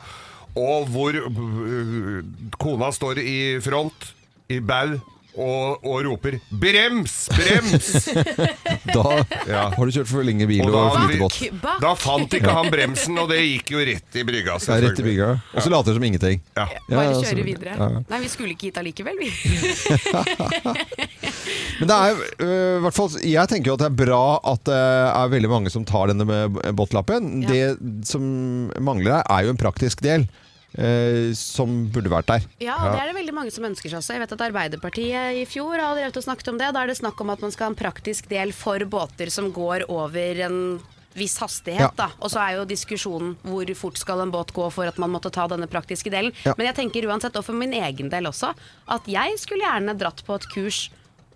A: og hvor eh, kona står i front, i bau, og, og roper 'brems, brems'!
B: Da
A: Ja.
B: har du kjørt for lenge bil
A: Og
B: og,
A: da,
B: flytebåt.
C: Bak, bak.
A: da fant ikke han bremsen, og det gikk jo rett i brygga.
B: Det er rett i
A: selvfølgelig.
B: bygga. Og så later det som ingenting.
A: Ja.
B: Ja,
C: Bare
B: ja,
C: kjøre
B: selvfølgelig.
C: videre.
B: Ja, ja.
C: Nei, vi skulle ikke hit allikevel, vi.
B: Men det er, øh, i hvert fall, jeg tenker jo at det er bra at det er veldig mange som tar denne med båtlappen.
C: Ja.
B: Det som mangler her, er jo en praktisk del øh, som burde vært der.
C: Ja, og det er det veldig mange som ønsker seg også. Jeg vet at Arbeiderpartiet i fjor har drevet og snakket om det. Da er det snakk om at man skal ha en praktisk del for båter som går over en viss hastighet,
B: Ja.
C: da. Og så er jo diskusjonen hvor fort skal en båt gå for at man måtte ta denne praktiske delen.
B: Ja.
C: Men jeg tenker uansett, og for min egen del også, at jeg skulle gjerne dratt på et kurs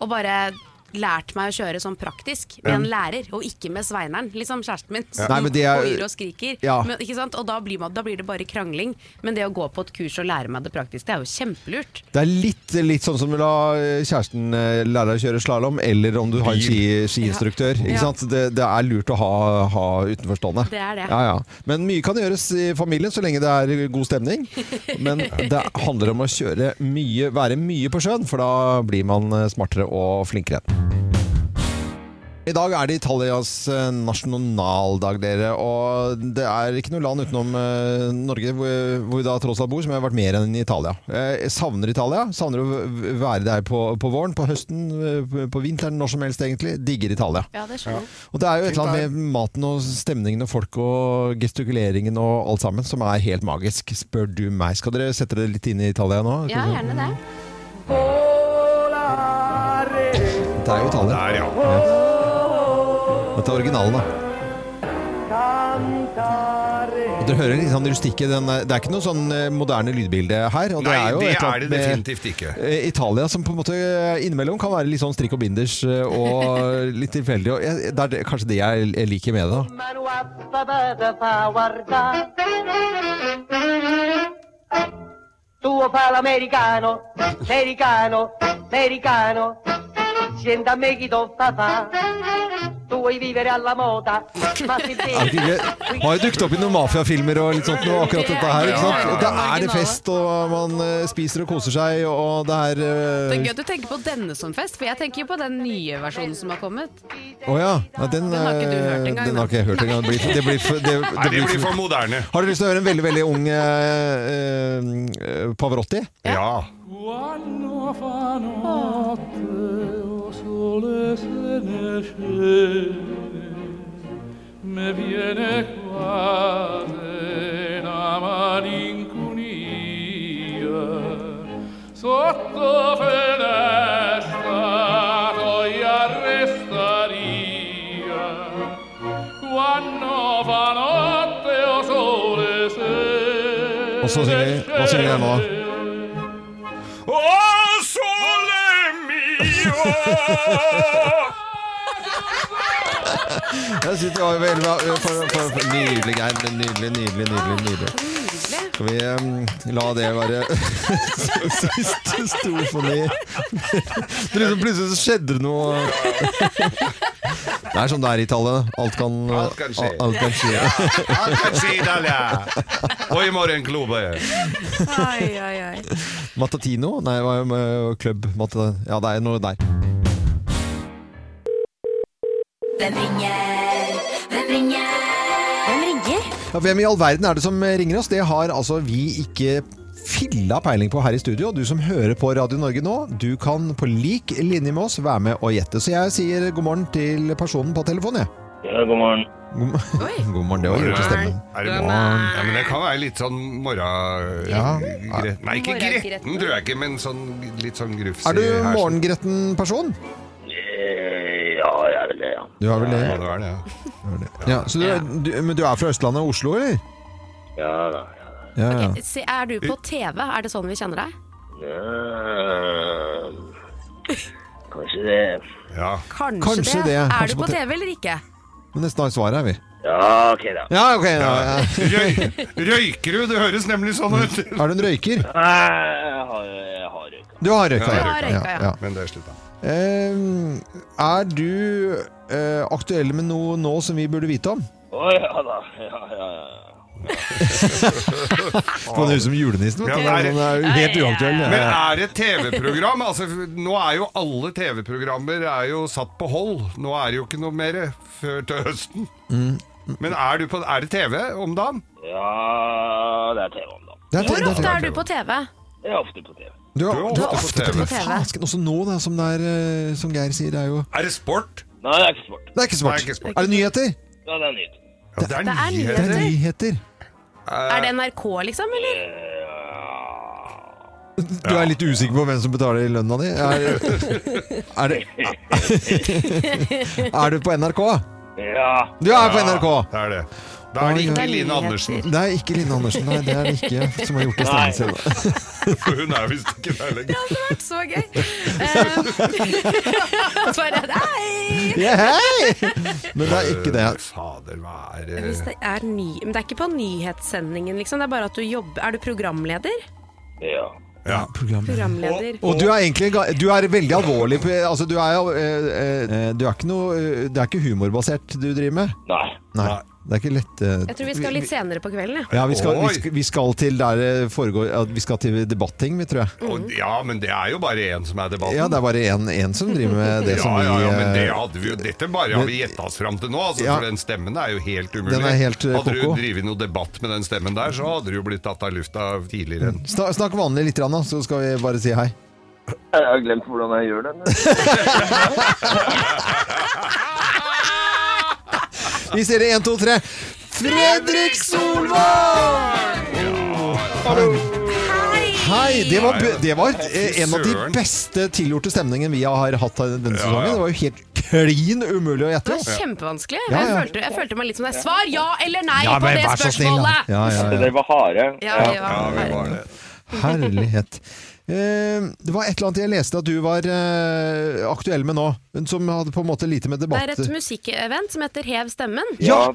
C: og bare lært meg å kjøre sånn praktisk med en lærer, og ikke med Sveineren, liksom kjæresten min, som
B: Nei, men det er-
C: hoier og skriker.
B: Ja.
C: Men, ikke sant? Og da blir, man, da blir det bare krangling. Men det å gå på et kurs og lære meg det praktiske, det er jo kjempelurt.
B: Det er litt, litt sånn som å la kjæresten øh, lære deg å kjøre slalåm, eller om du har en ski, skiinstruktør.
C: Ja.
B: Ikke sant? Det, det er lurt å ha, ha utenforstående.
C: Det er det.
B: Ja, ja. Men mye kan gjøres i familien så lenge det er god stemning. Men det handler om å kjøre mye, være mye på sjøen, for da blir man øh, smartere og flinkere. I dag er det Italias eh, nasjonaldag, dere. Og det er ikke noe land utenom eh, Norge hvor, hvor vi da tross alt bor, som har vært mer enn i Italia. Eh, Jeg savner Italia. Savner å v- være der på, på våren, på høsten, eh, på vinteren, når som helst egentlig. Digger Italia.
C: Ja, det skjønner
B: Og det er jo et eller annet med maten og stemningen og folk og gestikuleringen og alt sammen som er helt magisk, spør du meg. Skal dere sette dere litt inn i Italia nå?
C: Ja, Mm. gjerne det.
B: Det er jo Italia.
A: Der, ja.
B: Dette er originalen, da. Og dere hører litt sånn rustikke. Den, er- det er ikke noe sånn eh, moderne lydbilde her. Og
A: Nei,
B: det er, jo
A: det er
B: et eller
A: det
B: annet med,
A: definitivt ikke.
B: eh, Italia som på en måte eh, innimellom kan være litt sånn strikk og binders eh, og litt tilfeldig. Og jeg, det er det, kanskje det jeg, jeg liker med det. da.
G: Tuo palo americano, americano, americano, scendi a me chi t'ho fa fa. Tu vuoi vivere alla moda, ma
B: Er
G: se
B: det
G: bevi...
B: ikke hyggelig? Har jo dukket opp i noen mafiafilmer og litt sånt nå, akkurat dette her. ikke sant? Og da er det fest, og man eh, spiser og koser seg, og det er
C: Det er
B: eh,
C: gøy at du tenker på denne som fest, for jeg tenker jo på den nye versjonen som har kommet.
B: Å ja. Nei, den,
C: Den har ikke du hørt
B: eh,
C: engang,
B: Den
C: da.
B: har ikke jeg hørt engang. Det blir for- Det blir for- det-
A: Nei,
B: det
A: det
B: blir
A: blir
B: for
A: for moderne.
B: Har du lyst til å høre en veldig, veldig ung eh, eh, Pavarotti?
A: Ja.
H: Sotto finestra poi arrestaria quando fa notte o sole se
B: Og så synger vi- hva synger vi her nå, da?
A: Å, sole mio!
B: Jeg synes det var veldig bra. For, for, for, nydelig, Geir. Nydelig, nydelig, nydelig. nydelig.
C: Ah,
B: Skal vi eh, la det være siste storfoni? Det er liksom Plutselig så skjedde det noe Det er sånn det er i tallet. Alt kan,
A: Alt kan skje.
B: Alt kan skje.
A: Alt kan skje i Italia. Og i morgenklubben.
C: Ai, ai, ai.
B: Matatino? Nei, hva er det? Klubb Mata- Ja, det er noe der.
F: Hvem ringer? Hvem ringer? Hvem ringer?
B: Ja, hvem i all verden er det som ringer oss? Det har altså vi ikke filla peiling på her i studio. Du som hører på Radio Norge nå, du kan på lik linje med oss være med og gjette. Så jeg sier god morgen til personen på telefonen, jeg.
H: Ja, god morgen.
B: God,
C: Oi.
B: god morgen, det var jo ikke stemmen.
A: Er det morgen? Ja, men det kan være litt sånn morgen...
B: Ja.
A: Gre- Nei, ikke gretten, tror jeg ikke, men sånn, litt sånn grufsig.
B: Er du
A: her, sånn.
B: morgengretten person?
H: Eh, Ja, jeg er vel det, ja.
B: Du er vel
A: Ja,
B: det.
A: det er det. ja.
B: Ja, så du, er- du, men du er fra Østlandet og Oslo, eller?
H: Ja da. ja da.
B: Ja, ja.
C: Se, er du på TV? Er det sånn vi kjenner deg?
H: Ehm, Kan kanskje det.
A: Ja.
C: Kanskje,
B: Kanskje
C: det.
B: det.
C: Er
B: Kanskje
C: du på
B: på te-
C: TV eller ikke?
B: Men nesten har svaret her, vi.
H: Ja, ok da.
B: Ja, ok. Ja, ja.
A: Røy, røyker du? Det høres nemlig sånn ut.
B: Er du en røyker?
H: Nei, jeg har, jeg har røyka.
B: Du har røyka.
A: Ja, jeg
B: ja.
A: har
C: røyka, ja.
A: Men det er slutta.
B: Eh, er du eh, aktuell med noe nå som vi burde vite om?
H: Å ja da. Ja, ja, ja.
B: Han høres ut som julenissen. vet du.
A: Ja, det er-
B: Han er jo helt uaktuell. ja.
A: Men er det TV-program? Altså, nå er jo alle TV-programmer er jo satt på hold. Nå er det jo ikke noe mer før til høsten.
B: Mm.
A: Men er, du på, er det TV om dagen?
H: Ja, det er TV om dagen.
B: Det er-
C: Hvor
B: det er-
C: ofte er du på TV?
H: Det er ofte på TV.
B: Du
A: Du er
B: er
A: ofte på
B: ofte
A: TV.
B: på TV. Fasken, også nå, da, som, det er, eh, som Geir sier. Det er jo
A: Er det sport?
H: Nei, det er ikke sport.
B: Det er ikke smart.
A: Det er ikke smart.
B: Er det nyheter?
H: Ja, det er nytt.
A: Ja, det er
C: Det er
B: Det er
A: nyheter.
B: nyheter.
C: Er det NRK, liksom? Eller?
B: Du er litt usikker på hvem som betaler lønna di? Er, er, det, er du på NRK?
H: Ja.
B: Du er på NRK!
A: Det er det. Da er det
B: Oi,
A: ikke
B: oi.
A: Line Andersen,
B: Det er ikke Line Andersen, nei, det er det ikke som har gjort det
H: Nei.
B: stemmen sin.
A: for hun er visst ikke der lenger.
C: Det hadde vært så gøy! Eh, Bare Nei!
B: Ja, hei! Men det er ikke det.
A: Fader, hva er
C: Hvis
A: det
C: det er ny... Men det er ikke på nyhetssendingen, liksom. Det er bare at du jobber Er du programleder?
H: Ja.
A: ja.
C: Programleder.
B: Og du er egentlig ga- du er veldig alvorlig. på- Altså, du er, eh, eh, du er ikke noe, eh, det er ikke humorbasert du driver med.
H: Nei.
B: Nei, det er ikke lett. eh,
C: Jeg tror vi skal litt senere på kvelden, jeg.
B: Ja, vi skal,
A: Oi.
B: vi skal, vi skal til der det foregår ja, Vi skal til debatting, vi, tror jeg.
A: Og, ja, men det er jo bare én som er debatten.
B: Ja, det er bare én- én som driver med det som
A: ja,
B: vi
A: ja, ja, men det
B: eh,
A: hadde vi jo Dette bare har vi gjetta oss fram til nå, altså,
B: Ja.
A: for den stemmen er jo helt umulig.
B: Den er helt, eh,
A: hadde du
B: koko.
A: drevet noe debatt med den stemmen der, så hadde du jo blitt tatt av lufta tidligere. enn-
B: sna- Snakk vanlig litt, grann, da, så skal vi bare si hei.
H: Jeg har glemt hvordan jeg gjør den.
B: Vi sier det én, to, tre. Fredrik Solvang! Hallo. Hei! Det var, bu- det var eh, en av de
A: Søren.
B: beste tilgjorte stemningene vi har hatt her denne
A: Ja,
B: sesongen.
A: ja.
B: Det var jo helt klin umulig å
C: Det
B: gjette. altså.
C: var kjempevanskelig.
B: Ja,
C: Jeg,
B: ja.
C: følte, jeg følte meg litt som det. Svar ja eller nei på det spørsmålet!
B: Ja, ja, ja.
H: var harde.
C: Ja, det
A: Ja,
C: var
A: vi var det.
B: Herlighet. Eh, Det var et eller annet jeg leste at du var eh, aktuell med nå, men som hadde på en måte lite med
C: Det
B: debatt
C: er et musikkevent som heter Hev stemmen.
B: Ja,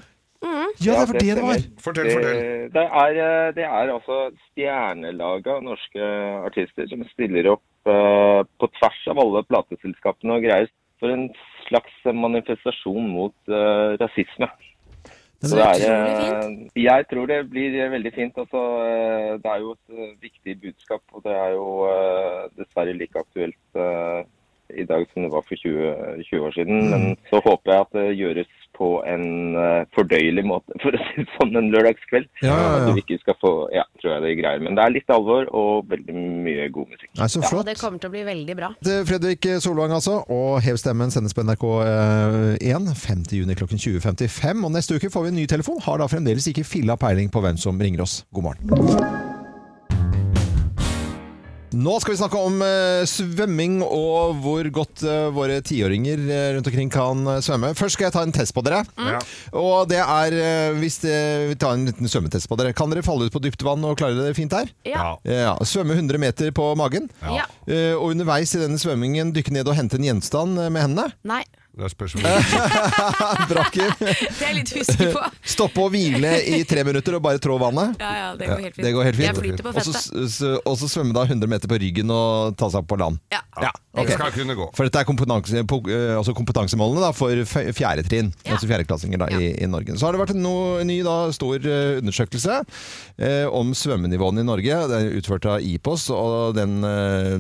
B: ja, det var det det var!
A: Fortell, fortell.
H: Det er, eh, det er altså stjernelaga norske artister som stiller opp eh, på tvers av alle plateselskapene og greier for en slags manifestasjon mot eh, rasisme.
B: Den
H: Så det er,
C: utrolig
H: eh, jeg tror det blir eh, veldig fint. Altså, eh, det er jo et eh, viktig budskap, og det er jo eh, dessverre like aktuelt eh, i dag som det var for 20, 20 år siden.
B: Mm.
H: Men så håper jeg at det gjøres på en eh, fordøyelig måte, for å si det sånn, en lørdagskveld.
B: Ja, ja, ja.
H: At vi ikke skal få Ja, tror jeg det greier. Men det er litt alvor og veldig mye god musikk.
B: Nei, så
C: Og
B: flott.
C: det kommer til å bli veldig bra.
B: Det er Fredrik Solvang altså, og Hev stemmen sendes på NRK1 5. juni klokken 20.55. Og neste uke får vi en ny telefon. Har da fremdeles ikke filla peiling på hvem som ringer oss. God morgen. Nå skal vi snakke om eh, svømming og hvor godt eh, våre tiåringer eh, rundt omkring kan eh, svømme. Først skal jeg ta en test på dere.
C: Mm,
A: Ja.
B: Og det er eh, hvis eh, vi tar en liten svømmetest på dere. Kan dere falle ut på dypt vann og klare det fint der?
C: Ja.
B: Ja, svømme 100 meter på magen.
C: Ja.
B: Eh, og underveis i denne svømmingen dykke ned og hente en gjenstand eh, med hendene.
C: Nei.
A: Det er spørsmålet.
B: Eh, Bra, Kim.
C: Det er jeg litt usikker på.
B: Stoppe og hvile i tre minutter og bare trå vannet.
C: Ja, ja, det går helt fint.
B: Det går helt fint.
C: Jeg flyter på
B: Og så
C: fettet.
B: s- s- Og så svømme da 100 meter på ryggen og ta seg opp på land.
C: Ja.
A: Det skal kunne gå.
B: For dette er kompetanse, po- eh, altså kompetansemålene da, for f- fjerde trinn,
C: Ja.
B: altså fjerdeklassinger da, i, i Norge. Så har det vært en no, ny da, stor eh, undersøkelse eh, om svømmenivåene i Norge. Det er utført av IPOS, og den, eh,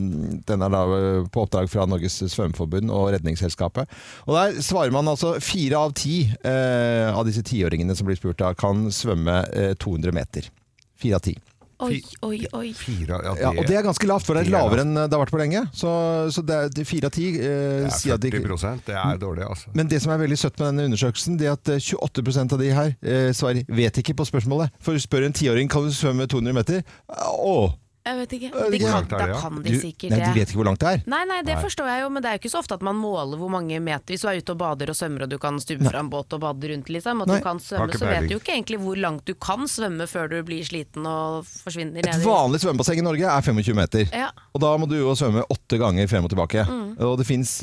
B: den er da eh, på oppdrag fra Norges Svømmeforbund og Redningsselskapet. Og der svarer man altså fire av ti eh, av disse tiåringene som blir spurt da, kan svømme eh, 200 meter. Fire av ti.
F: 哦
C: Oi, oi, oi.
A: Fire,
B: Ja, og det er ganske lavt, for det
A: Det
B: er
A: er
B: lavere enn det har vært på lenge. Så, så det er fire av ti eh, sier at de
A: det er 40 det er dårlig, altså.
B: men det som er veldig søtt med denne undersøkelsen, det er at eh, 28 av de her eh, svarer vet ikke på spørsmålet. For du spør en tiåring kan du svømme 200 meter. Eh, Å!
C: Jeg vet ikke.
B: vet
C: De
B: ikke.
C: kan,
A: Hvor langt er det,
C: da
A: ja?
C: kan
B: Du-
C: de sikkert
B: Nei,
C: det.
B: de vet ikke hvor langt det er.
C: Nei, nei, det forstår jeg jo, men det er jo ikke så ofte at man måler hvor mange meter Hvis du er ute og bader og svømmer og du kan stupe fra en båt og bade rundt, liksom, at
B: Nei.
C: du kan
A: Har
C: svømme,
A: ikke
C: så vet
A: peiling.
C: du jo ikke egentlig hvor langt du kan svømme før du blir sliten og forsvinner
B: Et
C: ned i
B: vanlig svømmebasseng i Norge er 25 meter.
C: Ja.
B: Og da må du jo svømme åtte ganger frem og tilbake. Og det fins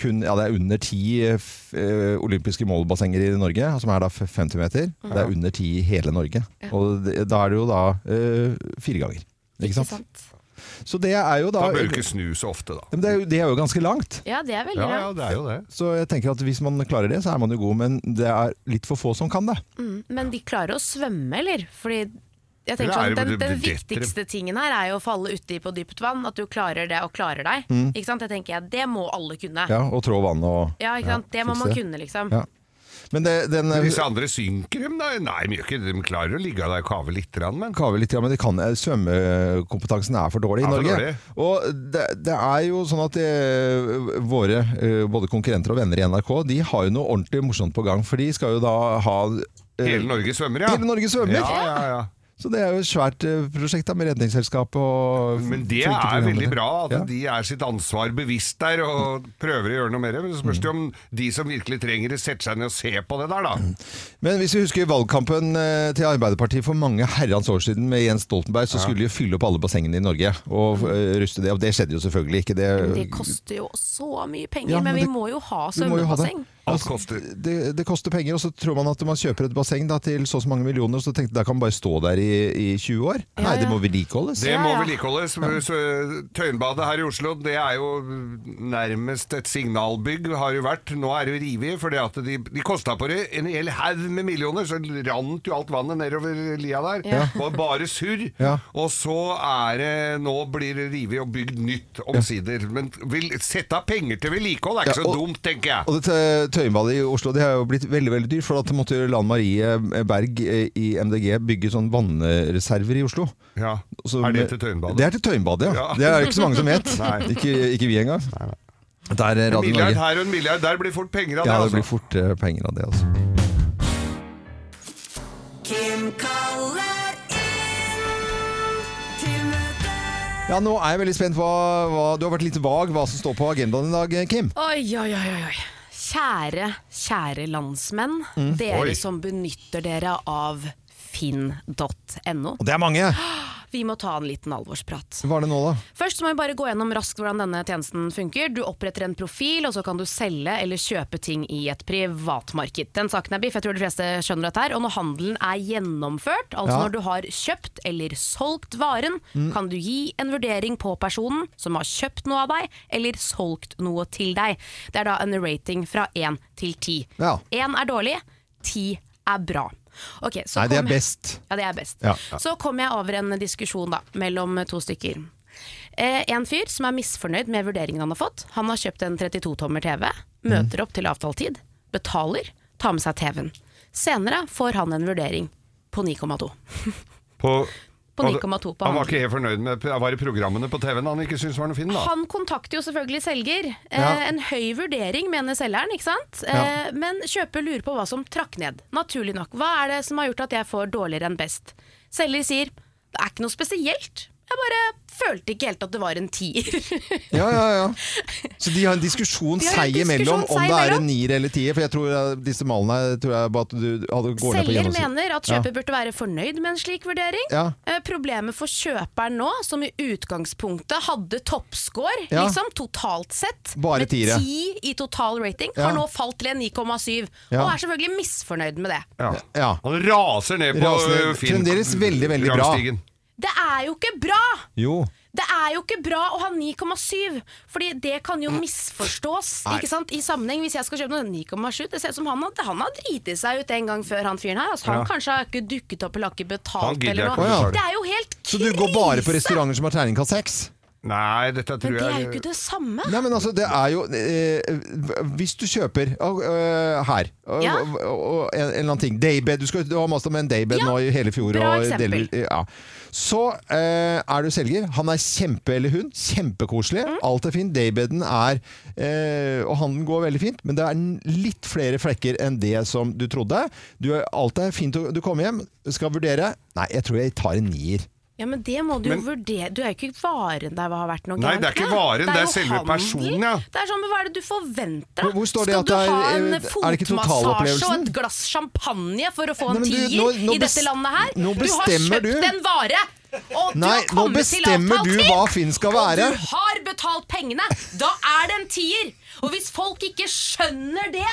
B: kun ja, det er under ti eh, f- eh, olympiske målbassenger i Norge, som er da f- 50 meter. Det er under ti i hele Norge. Og det, da er det jo da eh, fire ganger. Ikke sant? Så det er jo da,
A: Da bør du ikke snu så ofte, da.
B: Men det, er jo, det er jo ganske langt.
C: Ja, det er veldig
A: Ja,
C: bra.
A: ja, det er jo det.
B: Så jeg tenker at hvis man klarer det, så er man jo god, men det er litt for få som kan det.
C: Mm. Men de klarer å svømme, eller? Fordi jeg tenker
A: Eller er
C: sånn,
A: det-
C: den,
A: det- det
C: den
A: detter-
C: viktigste tingen her er jo å falle uti på dypt vann. At du klarer det og klarer deg. Ikke sant? Det tenker jeg, det må alle kunne. Ja,
B: Mm. Ja, Og trå vann og
C: ikke sant? Det må
B: fikse
C: man
B: det.
C: kunne, liksom.
B: Ja. Men det, den
A: Men Disse andre synker dem, da? Nei, de, gjør ikke, det. de klarer å ligge der og kave litt, grann, men
B: eh, kaver litt, ja, men de kan, svømmekompetansen er for dårlig i
A: Er for
B: Norge.
A: dårlig.
B: Og det, det er jo sånn at eh, våre eh, både konkurrenter og venner i NRK De har jo noe ordentlig morsomt på gang, for de skal jo da ha eh,
A: hele Norge svømmer, ja.
B: Hele Norge svømmer.
A: Ja, ja, ja.
B: Så det er jo et svært eh, prosjekt da, med Redningsselskapet og
A: Men det er
B: flinke programledere.
A: veldig bra at
B: Ja.
A: de er sitt ansvar bevisst der og prøver å gjøre noe mer. Men så spørs det om de som virkelig trenger det, setter seg ned og ser på det der,
B: Mm.
A: da.
B: Men hvis vi husker valgkampen eh, til Arbeiderpartiet for mange herrens år siden med Jens Stoltenberg, så skulle de jo fylle opp alle bassengene i Norge og eh, ruste det opp. Det skjedde jo selvfølgelig ikke. Det,
C: Mm. Men Det koster jo så mye penger,
B: Ja, men
C: men vi
B: det-
C: må jo ha
B: Vi må jo ha det.
C: svømmebasseng.
A: Alt koster.
B: det, det koster penger, og så tror man at man kjøper et basseng da, til så og så mange millioner, og så tenkte jeg da kan man bare stå der i, i 20 år. Nei, det
C: ja.
B: må vedlikeholdes.
A: Det
C: Ja,
A: må
C: ja.
A: vedlikeholdes. Så Tøyenbadet her i Oslo det er jo nærmest et signalbygg, har jo vært. Nå er det jo revet, for de, de kosta på det en hel haug med millioner. Så rant jo alt vannet nedover lia der.
C: Ja.
A: Det var bare surr.
B: Ja.
A: Og så er det Nå blir det revet og bygd nytt, omsider. Men vil sette av penger til vedlikehold er ikke
B: Ja,
A: så
B: og-
A: dumt, tenker jeg.
B: Og det eh, Tøyenbadet i Oslo det har jo blitt veldig veldig dyrt, for at måtte jo Lan Marie Berg eh, i MDG bygge sånn vannreserver i Oslo.
A: Ja.
B: Så-
A: er det til Tøyenbadet?
B: Det er til Tøyenbadet, ja.
A: Ja.
B: Det er det ikke så mange som vet.
A: Nei.
B: ikke, ikke vi engang. Der er
A: En
B: Radio
A: milliard
B: Norge.
A: her altså. og en milliard der blir fort penger av
B: Ja, det
A: det.
B: blir fort eh, penger av det, altså. Ja, nå er jeg veldig spent på hva, Du har vært litt vag hva som står på agendaen i dag, eh, Kim.
C: Oi, oi, oi, oi. oi. Kjære, kjære landsmenn. Dere
A: Oi.
C: som benytter dere av finn.no.
B: Og det er mange!
C: Vi må ta en liten alvorsprat.
B: Hva er det nå, da?
C: Først så må vi bare gå gjennom raskt hvordan denne tjenesten funker. Du oppretter en profil, og så kan du selge eller kjøpe ting i et privatmarked. Den saken er biff, jeg tror de fleste skjønner dette her. Og når handelen er gjennomført, altså
B: Ja. Mm.
C: når du har kjøpt eller solgt varen, kan du gi en vurdering på personen som har kjøpt noe av deg, eller solgt noe til deg. Det er da en rating fra 1 til 10.
B: Ja.
C: 1 er dårlig, 10 er bra. Ok, så
B: Nei, det er
C: kom-
B: best.
C: ja, det er best.
B: Ja.
C: Så kom jeg over en diskusjon da, mellom to stykker. Eh, en fyr som er misfornøyd med vurderingen han har fått. Han har kjøpt en 32-tommer TV, møter opp til avtalt tid, betaler, tar med seg TV-en. Senere får han en vurdering på 9,2.
A: På,
C: På 9,2 på
A: Han var
C: handel.
A: ikke helt fornøyd med Var det programmene på TV-en han ikke syntes var noe fin, da?
C: Han kontakter jo selvfølgelig selger. Eh,
B: Ja.
C: En høy vurdering, mener selgeren, ikke sant? Eh, men kjøper lurer på hva som trakk ned. Naturlig nok. Hva er det som har gjort at jeg får dårligere enn best? Selger sier det er ikke noe spesielt. Jeg bare følte ikke helt at det var en tier.
B: Ja, ja, ja. Så de har en diskusjon
C: De har en
B: seg imellom
C: diskusjon
B: om
C: seg
B: det er
C: imellom.
B: en nier eller tier. For jeg tror eh, disse malene her tror jeg bare at du hadde- går ned på
C: Selger
B: gjennomsnitt.
C: mener at kjøper burde være fornøyd med en slik vurdering.
B: Ja.
C: Eh, Problemet for kjøperen nå, som i utgangspunktet hadde toppscore
B: Ja.
C: liksom, totalt sett,
B: Bare
C: med
B: tiere.
C: 10 i total rating,
B: Ja.
C: har nå falt til en 9,7.
B: Ja.
C: Og er selvfølgelig misfornøyd med det.
A: Ja.
B: Ja.
A: Han raser ned på
B: Raser ned.
A: øh, Finn.
B: Fremdeles veldig, veldig bra.
A: rangstigen.
C: Det er jo ikke bra!
B: Jo.
C: Det er jo ikke bra å ha 9,7, Fordi det kan jo misforstås ikke sant? i sammenheng. Hvis jeg skal kjøpe noe 9,7 Det ser ut som han, har- han har driti seg ut en gang før, han fyren her. Altså, han
A: Ja.
C: kanskje har ikke dukket opp eller har ikke
A: Han
C: betalt
A: gidder
C: eller
A: ikke
C: noe.
B: å betale.
C: Det er jo helt
B: Så
C: krise!
B: du går bare på restauranter som har terningkast seks?
A: Nei, dette tror
C: Men det er jo
A: jeg
C: ikke det samme.
B: Nei, men altså, det er jo eh, Hvis du kjøper og, eh, her og,
C: Ja.
B: og, og, en, en eller annen ting Daybed. Du skal du har mast om en daybed
C: Ja.
B: nå i hele fjor.
C: Bra
B: og
C: eksempel.
B: deler- ja. Så eh, er du selger. Han er kjempe, eller hun, kjempekoselig.
C: Mm.
B: Alt er fint. Daybeden er eh, Og handelen går veldig fint, men det er n- litt flere flekker enn det som du trodde. Du, er- alt er fint, og du kommer hjem, skal vurdere. Nei, jeg tror jeg tar en nier.
C: Ja, men det må du jo
A: Men-
C: vurdere. Du er jo ikke varen der hva har vært noe
A: Nei,
C: gærent
A: det er ikke
C: med.
A: varen, det er
C: jo
A: selve
C: handel.
A: personen, ja.
C: Det er sånn, men hva er det du forventer? da?
B: Hvor- hvor står det
C: Skal
B: at det
C: du
B: er- eh,
C: ha
B: er
C: en
B: det ikke
C: fotmassasje og
B: totalopplevelsen?
C: et glass champagne for å få
B: Nei,
C: en
B: men du,
C: tier
B: nå- nå
C: i
B: bes-
C: dette landet her?
B: nå
C: du
B: bestemmer
C: har kjøpt
B: du.
C: en vare, og du
B: Nei,
C: har
B: nå
C: kommet til
B: bestemmer
C: avtalt
B: du
C: tid,
B: hva Finn skal være.
C: Og du har betalt pengene. Da er det en tier. Og hvis folk ikke skjønner det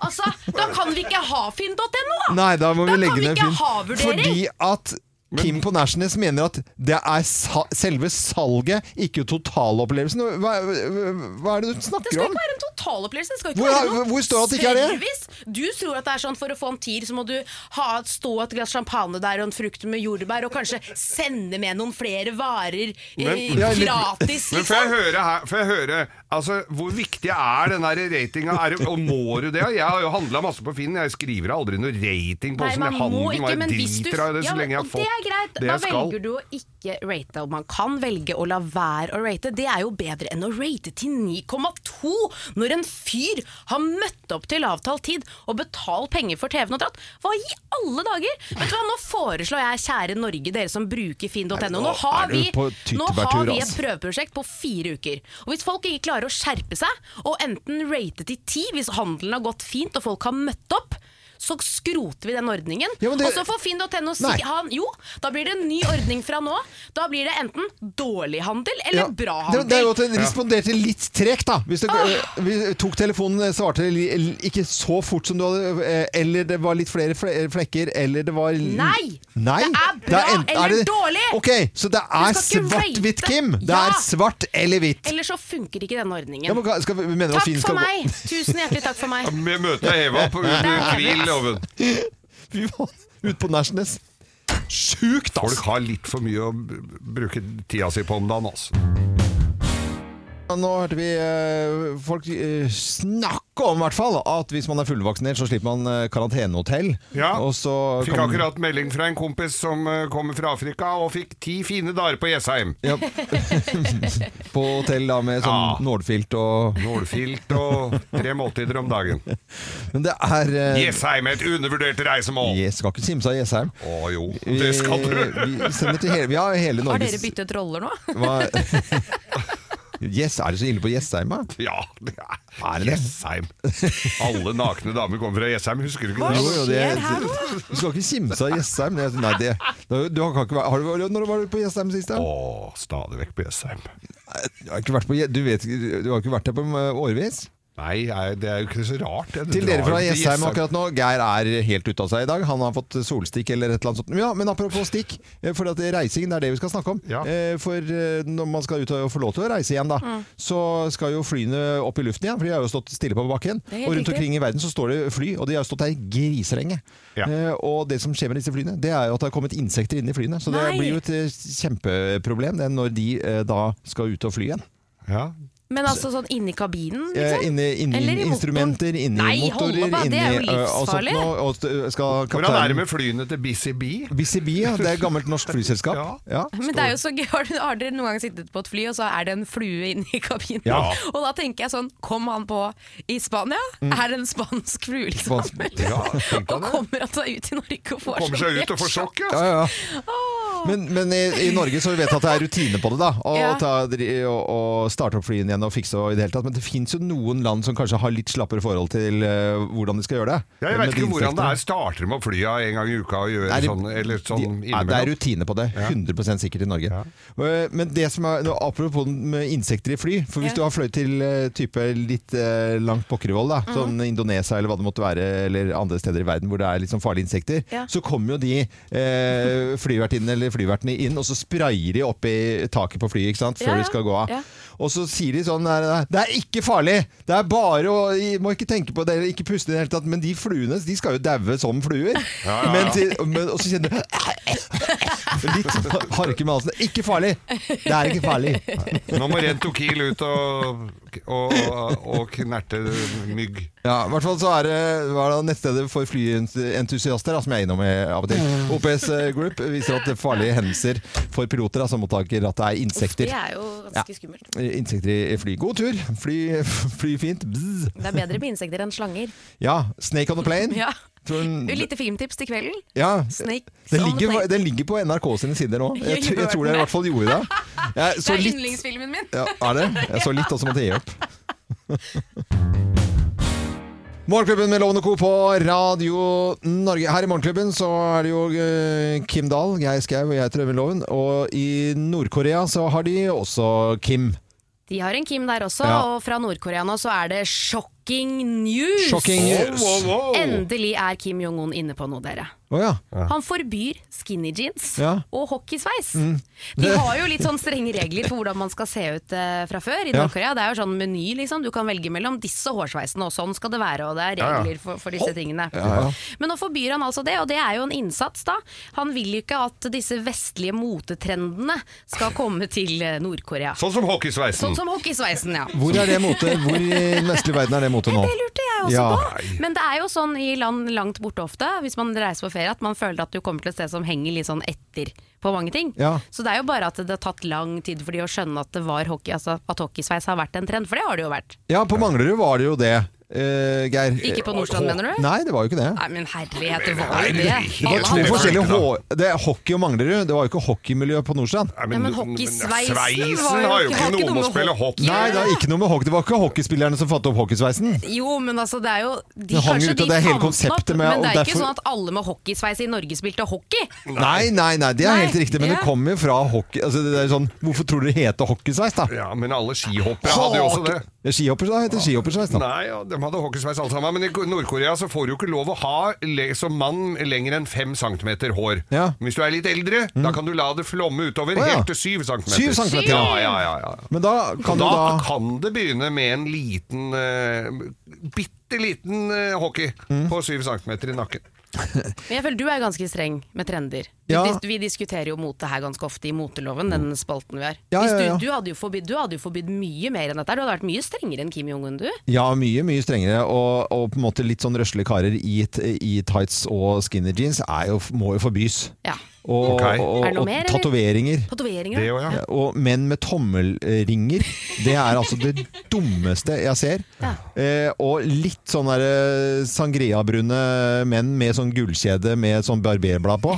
C: Altså, Da kan vi ikke ha finn.no! da.
B: Nei, da må vi legge
C: kan vi
B: ned
C: ikke
B: Finn.
C: ha vurdering.
B: Fordi at Kim på Nashnes mener at det er sa selve salget, ikke totalopplevelsen. Hva, hva er det du
C: Det
B: snakker
C: skal
B: om?
C: ikke være en totalopplevelse. Det skal ikke
B: Hvor-
C: være noen
B: hvor står det at det ikke er det?
C: service. Du tror at det er sånn for å få en tier, så må du ha, stå et glass champagne der og en frukt med jordbær, og kanskje sende med noen flere varer eh,
A: Men- Ja,
B: eller-
C: gratis,
A: Men får jeg
C: liksom.
A: høre her får jeg høre, altså, Hvor viktig er den der ratinga? Er det- Og må du det? Jeg har jo handla masse på Finn. Jeg skriver aldri noe rating på
C: Nei,
A: åssen
C: man
A: jeg
C: må
A: handler.
C: ikke,
A: Jeg
C: men hvis du
A: driter av det
C: Ja,
A: så
C: men-
A: lenge jeg har
C: og Det er
A: fått
C: greit.
A: det
C: Da
A: jeg skal.
C: velger du å ikke rate. Og man kan velge å la være å rate. Det er jo bedre enn å rate til 9,2 når en fyr har møtt opp til avtalt tid og betalt penger for TV-en og dratt. Hva i alle dager? Vet du hva, Nå foreslår jeg, kjære Norge, dere som bruker finn.no
B: Nei, nå
C: Nå har
B: er du
C: vi,
B: på
C: nå har
B: tyttebærtur,
C: vi et
B: altså.
C: prøveprosjekt på fire uker. Og Hvis folk ikke klarer å skjerpe seg og enten rate til ti hvis handelen har gått fint og folk har møtt opp, så skroter vi den ordningen.
B: Ja, men det-
C: Og så får Finn.no si
B: Nei.
C: han, Jo, da blir det en ny ordning fra nå. Da blir det enten dårlig handel eller
B: Ja.
C: bra
B: Det,
C: handel.
B: det er jo at den responderte litt tregt, da. Hvis det,
C: Ah.
B: eh, vi tok telefonen, eh, svarte li- l- ikke så fort som du hadde eh, Eller det var litt flere fle- flekker, eller det var l-
C: Nei!
B: Nei!
C: Det er bra eller dårlig!
B: Ok, så det er
C: skal ikke
B: svart-hvitt,
C: rate.
B: Kim! Det
C: Ja.
B: er svart eller hvitt.
C: Eller så funker ikke denne ordningen.
B: Ja, men, hva- skal vi, mener du at
C: takk
B: Finn skal
C: for
B: gå-
C: meg! Tusen hjertelig takk for meg.
A: Vi møter Eva på under tvil. Loven.
B: Fy faen, ut på Nashnes. Sjukt,
A: Folk
B: altså!
A: har litt for mye å b- bruke tida si på om dagen. Altså.
B: Nå hørte vi eh, folk eh, snakke om, i hvert fall, at hvis man er fullvaksinert, så slipper man eh, karantenehotell.
A: Ja.
B: Og så
A: Fikk
B: kan-
A: akkurat melding fra en kompis som eh, kommer fra Afrika, og fikk ti fine dager på Jessheim.
B: Ja. På hotell da med sånn
A: Ja.
B: nålfilt og
A: Nålfilt og tre måltider om dagen.
B: Men det er eh,
A: Jessheim er et undervurdert reisemål!
B: Jeg skal ikke simse av Jessheim.
A: Å jo, det skal du!
B: Vi, vi, sender til hele, vi har hele
C: Har
B: Norges
C: dere byttet roller nå?
B: Hva- Yes, er det så ille på Jessheim, da?
A: Ja, det er Jessheim. Alle nakne damer kommer fra Jessheim, husker du ikke
B: Jo,
A: det?
B: jo, det, du skal ikke kimse av Jessheim. Det, nei, det, du har ikke vært, har du, når var du på Jessheim sist? da?
A: Å, stadig vekk på Jessheim.
B: Du har ikke vært, på, Je- du vet, ikke- du har ikke vært der på eh, årevis?
A: Nei, nei, det er jo ikke så rart. det. Du
B: Til dere
A: drar
B: fra
A: jo til
B: Jessheim akkurat nå, Geir er helt ute av seg i dag. Han har fått solstikk eller et eller annet sånt. Ja, men apropos stikk, eh, for at reising det er det vi skal snakke om.
A: Ja.
B: Eh, For eh, når man skal ut og få lov til å reise igjen, da,
C: Mm.
B: så skal jo flyene opp i luften igjen. For de har jo stått stille på bakken.
C: er helt
B: Og rundt
C: riktig.
B: omkring i verden så står det fly, og de har stått der griselenge.
A: Ja.
B: Eh, Og det som skjer med disse flyene, det er jo at det har kommet insekter inn i flyene. Så det
C: Nei.
B: blir jo et eh, kjempeproblem det er når de eh, da skal ut og fly igjen.
A: Ja.
C: Men altså sånn inni kabinen,
B: Eh,
C: liksom?
B: Inni, inni
C: Eller i
B: instrumenter, inni
C: Nei,
B: motorer
C: hold opp, da. Det er jo
B: inni, ø, og sånt
C: livsfarlig.
B: noe, og st- skal
A: Hvordan er det med flyene til Busy Bee?
B: BCB, ja. Det er et gammelt norsk flyselskap.
A: Ja.
B: Ja.
C: Men det er jo så gøy, har, du- har dere noen gang sittet på et fly, og så er det en flue inni kabinen?
B: Ja.
C: Og da tenker jeg sånn, kom han på i Spania? Er det en spansk flue, liksom?
B: Spansk-
A: Ja, tenk deg
C: og
A: det.
C: kommer han seg ut i Norge og får sånn
A: Kommer seg ut og får sjokk, ja.
B: Ja, ja. Men, men i, i Norge så vet vi at det er rutine på det, da. Å
C: Ja.
B: ta, dri- å- å starte opp flyene igjen og fikse og i det hele tatt. Men det fins jo noen land som kanskje har litt slappere forhold til ø, hvordan de skal gjøre det.
A: Ja, jeg veit ikke hvordan det er. Starter de med å fly av en gang i uka og gjøre
B: Nei, de-
A: sånn, eller sånn
B: de- ja, det er rutine på det. 100 sikkert i Norge. Eh, Men det som er, nå, apropos den med insekter i fly. For hvis du
C: Ja.
B: har fløyet til eh, type litt eh, langt pokkervoll, da, sånn
C: Mhm.
B: Indonesia eller hva det måtte være, eller andre steder i verden hvor det er litt sånn farlige insekter,
C: Ja.
B: så kommer jo de eh, flyvertinnene eller flyvertene inn, og så sprayer de opp i taket på flyet ikke sant? før
C: Ja, ja.
B: de skal gå av.
C: Ja.
B: Og så sier de sånn der, Det er ikke farlig! Det er bare å I Må ikke tenke på det, eller ikke puste i det hele tatt. Men de fluene, de skal jo daue som fluer.
A: ja, ja.
B: Men til, men, og så kjenner du Litt sånn harke med halsen. Ikke farlig! Det er ikke farlig.
A: Nå må Rento Kiel ut og, og, og, og knerte mygg.
B: Ja, I hvert fall så er det, hva er det nettstedet for flyentusiaster, da, som jeg er innom i- av og til. OPS eh, Group viser at farlige hendelser for piloter da, som mottaker at det er
C: Det
B: insekter.
C: er jo ganske skummelt.
B: Insekter i fly. God tur! Fly, fly fint. Bzz.
C: Det er bedre med insekter enn slanger.
B: Ja, Snake on a plane.
C: Ja.
B: Tror den-
C: Et lite filmtips til kvelden. Sånn
B: Ja,
C: Snakes
B: den
C: on the
B: ligger,
C: plane.
B: den ligger på NRK sine sider nå. Jeg, tr- jeg tror det i hvert fall gjorde det. Jeg
C: Det
B: så
C: er
B: litt,
C: yndlingsfilmen min.
B: ja, er det? Jeg så litt, og så måtte jeg gi opp. Morgenklubben med Lovende Co. på Radio Norge. Her i Morgenklubben så er det jo eh, Kim Dahl, Geir Skau og jeg heter Øyvind Loven. Og i Nord-Korea så har de også Kim.
C: De har en Kim der også,
B: Ja.
C: og fra Nord-Korea nå så er det shocking news!
B: Shocking news.
C: Endelig er Kim Jong-un inne på noe, dere.
B: Å ja.
C: Han forbyr skinny jeans
B: Ja. Mm.
C: og hockeysveis. De har jo litt sånn strenge regler for hvordan man skal se ut eh, fra før i
B: Ja.
C: Nord-Korea. Det er jo sånn meny, liksom. Du kan velge mellom disse hårsveisene, og sånn skal det være. Og det er
A: ja.
C: regler for, for disse tingene.
B: ja.
C: Men nå forbyr han altså det, og det er jo en innsats, da. Han vil jo ikke at disse vestlige motetrendene skal komme til eh, Nord-Korea.
A: Sånn som hockeysveisen.
C: Sånn som hockeysveisen, ja.
B: Hvor er det mote? Hvor i den vestlige verden er det mote nå?
C: Det lurte jeg også
B: Ja.
C: på. Men det er jo sånn i land langt borte ofte, hvis man reiser på ferie, at man føler at du kommer til et sted som henger litt sånn etter på mange ting.
B: Ja.
C: Så det er jo bare at det har tatt lang tid for de å skjønne at det var hockey, altså at hockeysveis har vært en trend, for det har det jo vært.
B: Ja, på Manglerud var det jo det, eh, Geir.
C: Ikke på Nordstrand, mener du?
B: Nei, det var jo ikke det.
C: Nei, men herlighet, det var jo det.
A: Helt
B: To
A: det er
B: forskjellige
A: flaut, da.
B: hå- Det er hockey og Manglerud. Det var jo ikke hockeymiljø på Nordstrand.
A: Nei,
C: Ja, men
A: du-
C: hockeysveisen
A: men
C: var
A: Sveisen
C: jo
A: har jo
C: ikke-
A: ikke
C: har
A: noe med å spille hockey
B: Nei, det, er ikke noe med hockey. det var ikke hockeyspillerne som fant opp hockeysveisen.
C: Jo, men altså det er jo de,
B: Det hang
C: Kanskje
B: ut, og
C: de
B: det er hele
C: fant den opp,
B: konseptet med-
C: men det er
B: og
C: ikke
B: derfor-
C: sånn at alle med hockeysveis i Norge spilte hockey.
B: Nei, nei, nei, det er
C: Nei,
B: helt riktig, men
C: ja.
B: det kommer jo fra hockey. Altså, det er jo sånn, hvorfor tror dere det heter hockeysveis, da?
A: Ja, men alle skihoppere hadde jo også det.
B: Ja, Skihopper, da heter det skihoppersveis, da.
A: Nei, ja, de hadde hockeysveis alle sammen. Men i Nord-Korea så får du ikke lov å ha le som mann lenger enn fem centimeter hår.
B: Ja. Mm.
A: Men Hvis du er litt eldre, da kan du la det flomme utover
B: Å, ja.
A: helt til syv centimeter.
B: Syv centimeter,
A: ja.
B: ja.
A: Ja, ja, ja,
B: Men da kan
A: da,
B: du da
A: kan det begynne med en liten, uh, bitte liten eh, hockey
B: Mm.
A: på syv centimeter i nakken.
C: Men jeg føler du er ganske streng med trender. Du,
B: Ja.
C: dis- Vi diskuterer jo mote her ganske ofte i moteloven, den spalten vi har.
B: Ja,
C: Hvis
B: ja, ja.
C: Du, du, hadde jo forbydd, du hadde jo forbydd mye mer enn dette. Du hadde vært mye strengere enn Kim Jong-un, du.
B: Ja, mye, mye strengere. Og, og på en måte litt sånn røslige karer i, t- i tights og skinny jeans er jo, må jo forbys.
C: Ja.
B: Og,
A: Ok.
B: og,
C: Er det noe
B: og
C: mer, eller?
B: tatoveringer.
C: Tatoveringer,
A: Det
C: da.
A: òg, ja.
B: Ja, Og menn med tommelringer, det er altså det dummeste jeg ser. Eh, og litt sånn der eh, sangria-brune menn med sånn gullkjede med sånn barberblad på.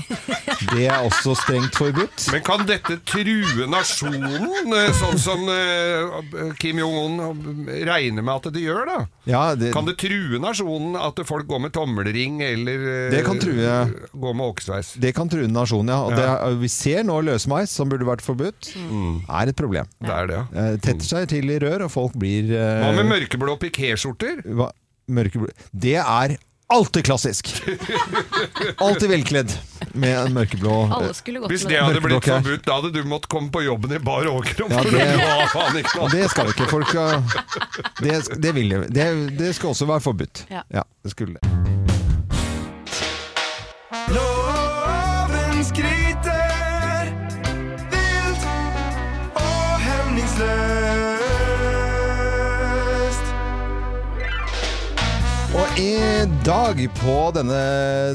B: Det er også strengt forbudt.
A: Men kan dette true nasjonen, eh, sånn som eh, Kim Jong-un regner med at det gjør, da?
B: Ja, det,
A: Kan det true nasjonen at folk går med tommelring eller eh,
B: Det kan true.
A: går med åkesveis?
B: det kan true nasjonen, ja. Og det,
A: Ja. Mm.
B: er- vi ser nå løsmeis, som burde vært forbudt, er et problem.
A: Det er det, ja.
B: Eh, tetter seg til i rør, og folk blir eh,
A: Hva med mørkeblå pikéskjorter?
B: hva- mørkeblå Det er alltid klassisk! Alltid velkledd med en mørkeblå eh,
C: Alle skulle gått
A: Hvis
C: med
A: det hadde blitt
B: Mørkeblå, ok.
A: forbudt, da hadde du måttet komme på jobben i bar overkropp.
B: Ja,
A: for
B: det-
A: du har faen ikke noe.
B: Og det skal vi ikke. Folk skal, det, det, vil, jeg- det, det skal også være forbudt.
C: Ja.
B: det skulle det.
I: Loven skryter vilt og hemningsløst.
B: Og i dag, på denne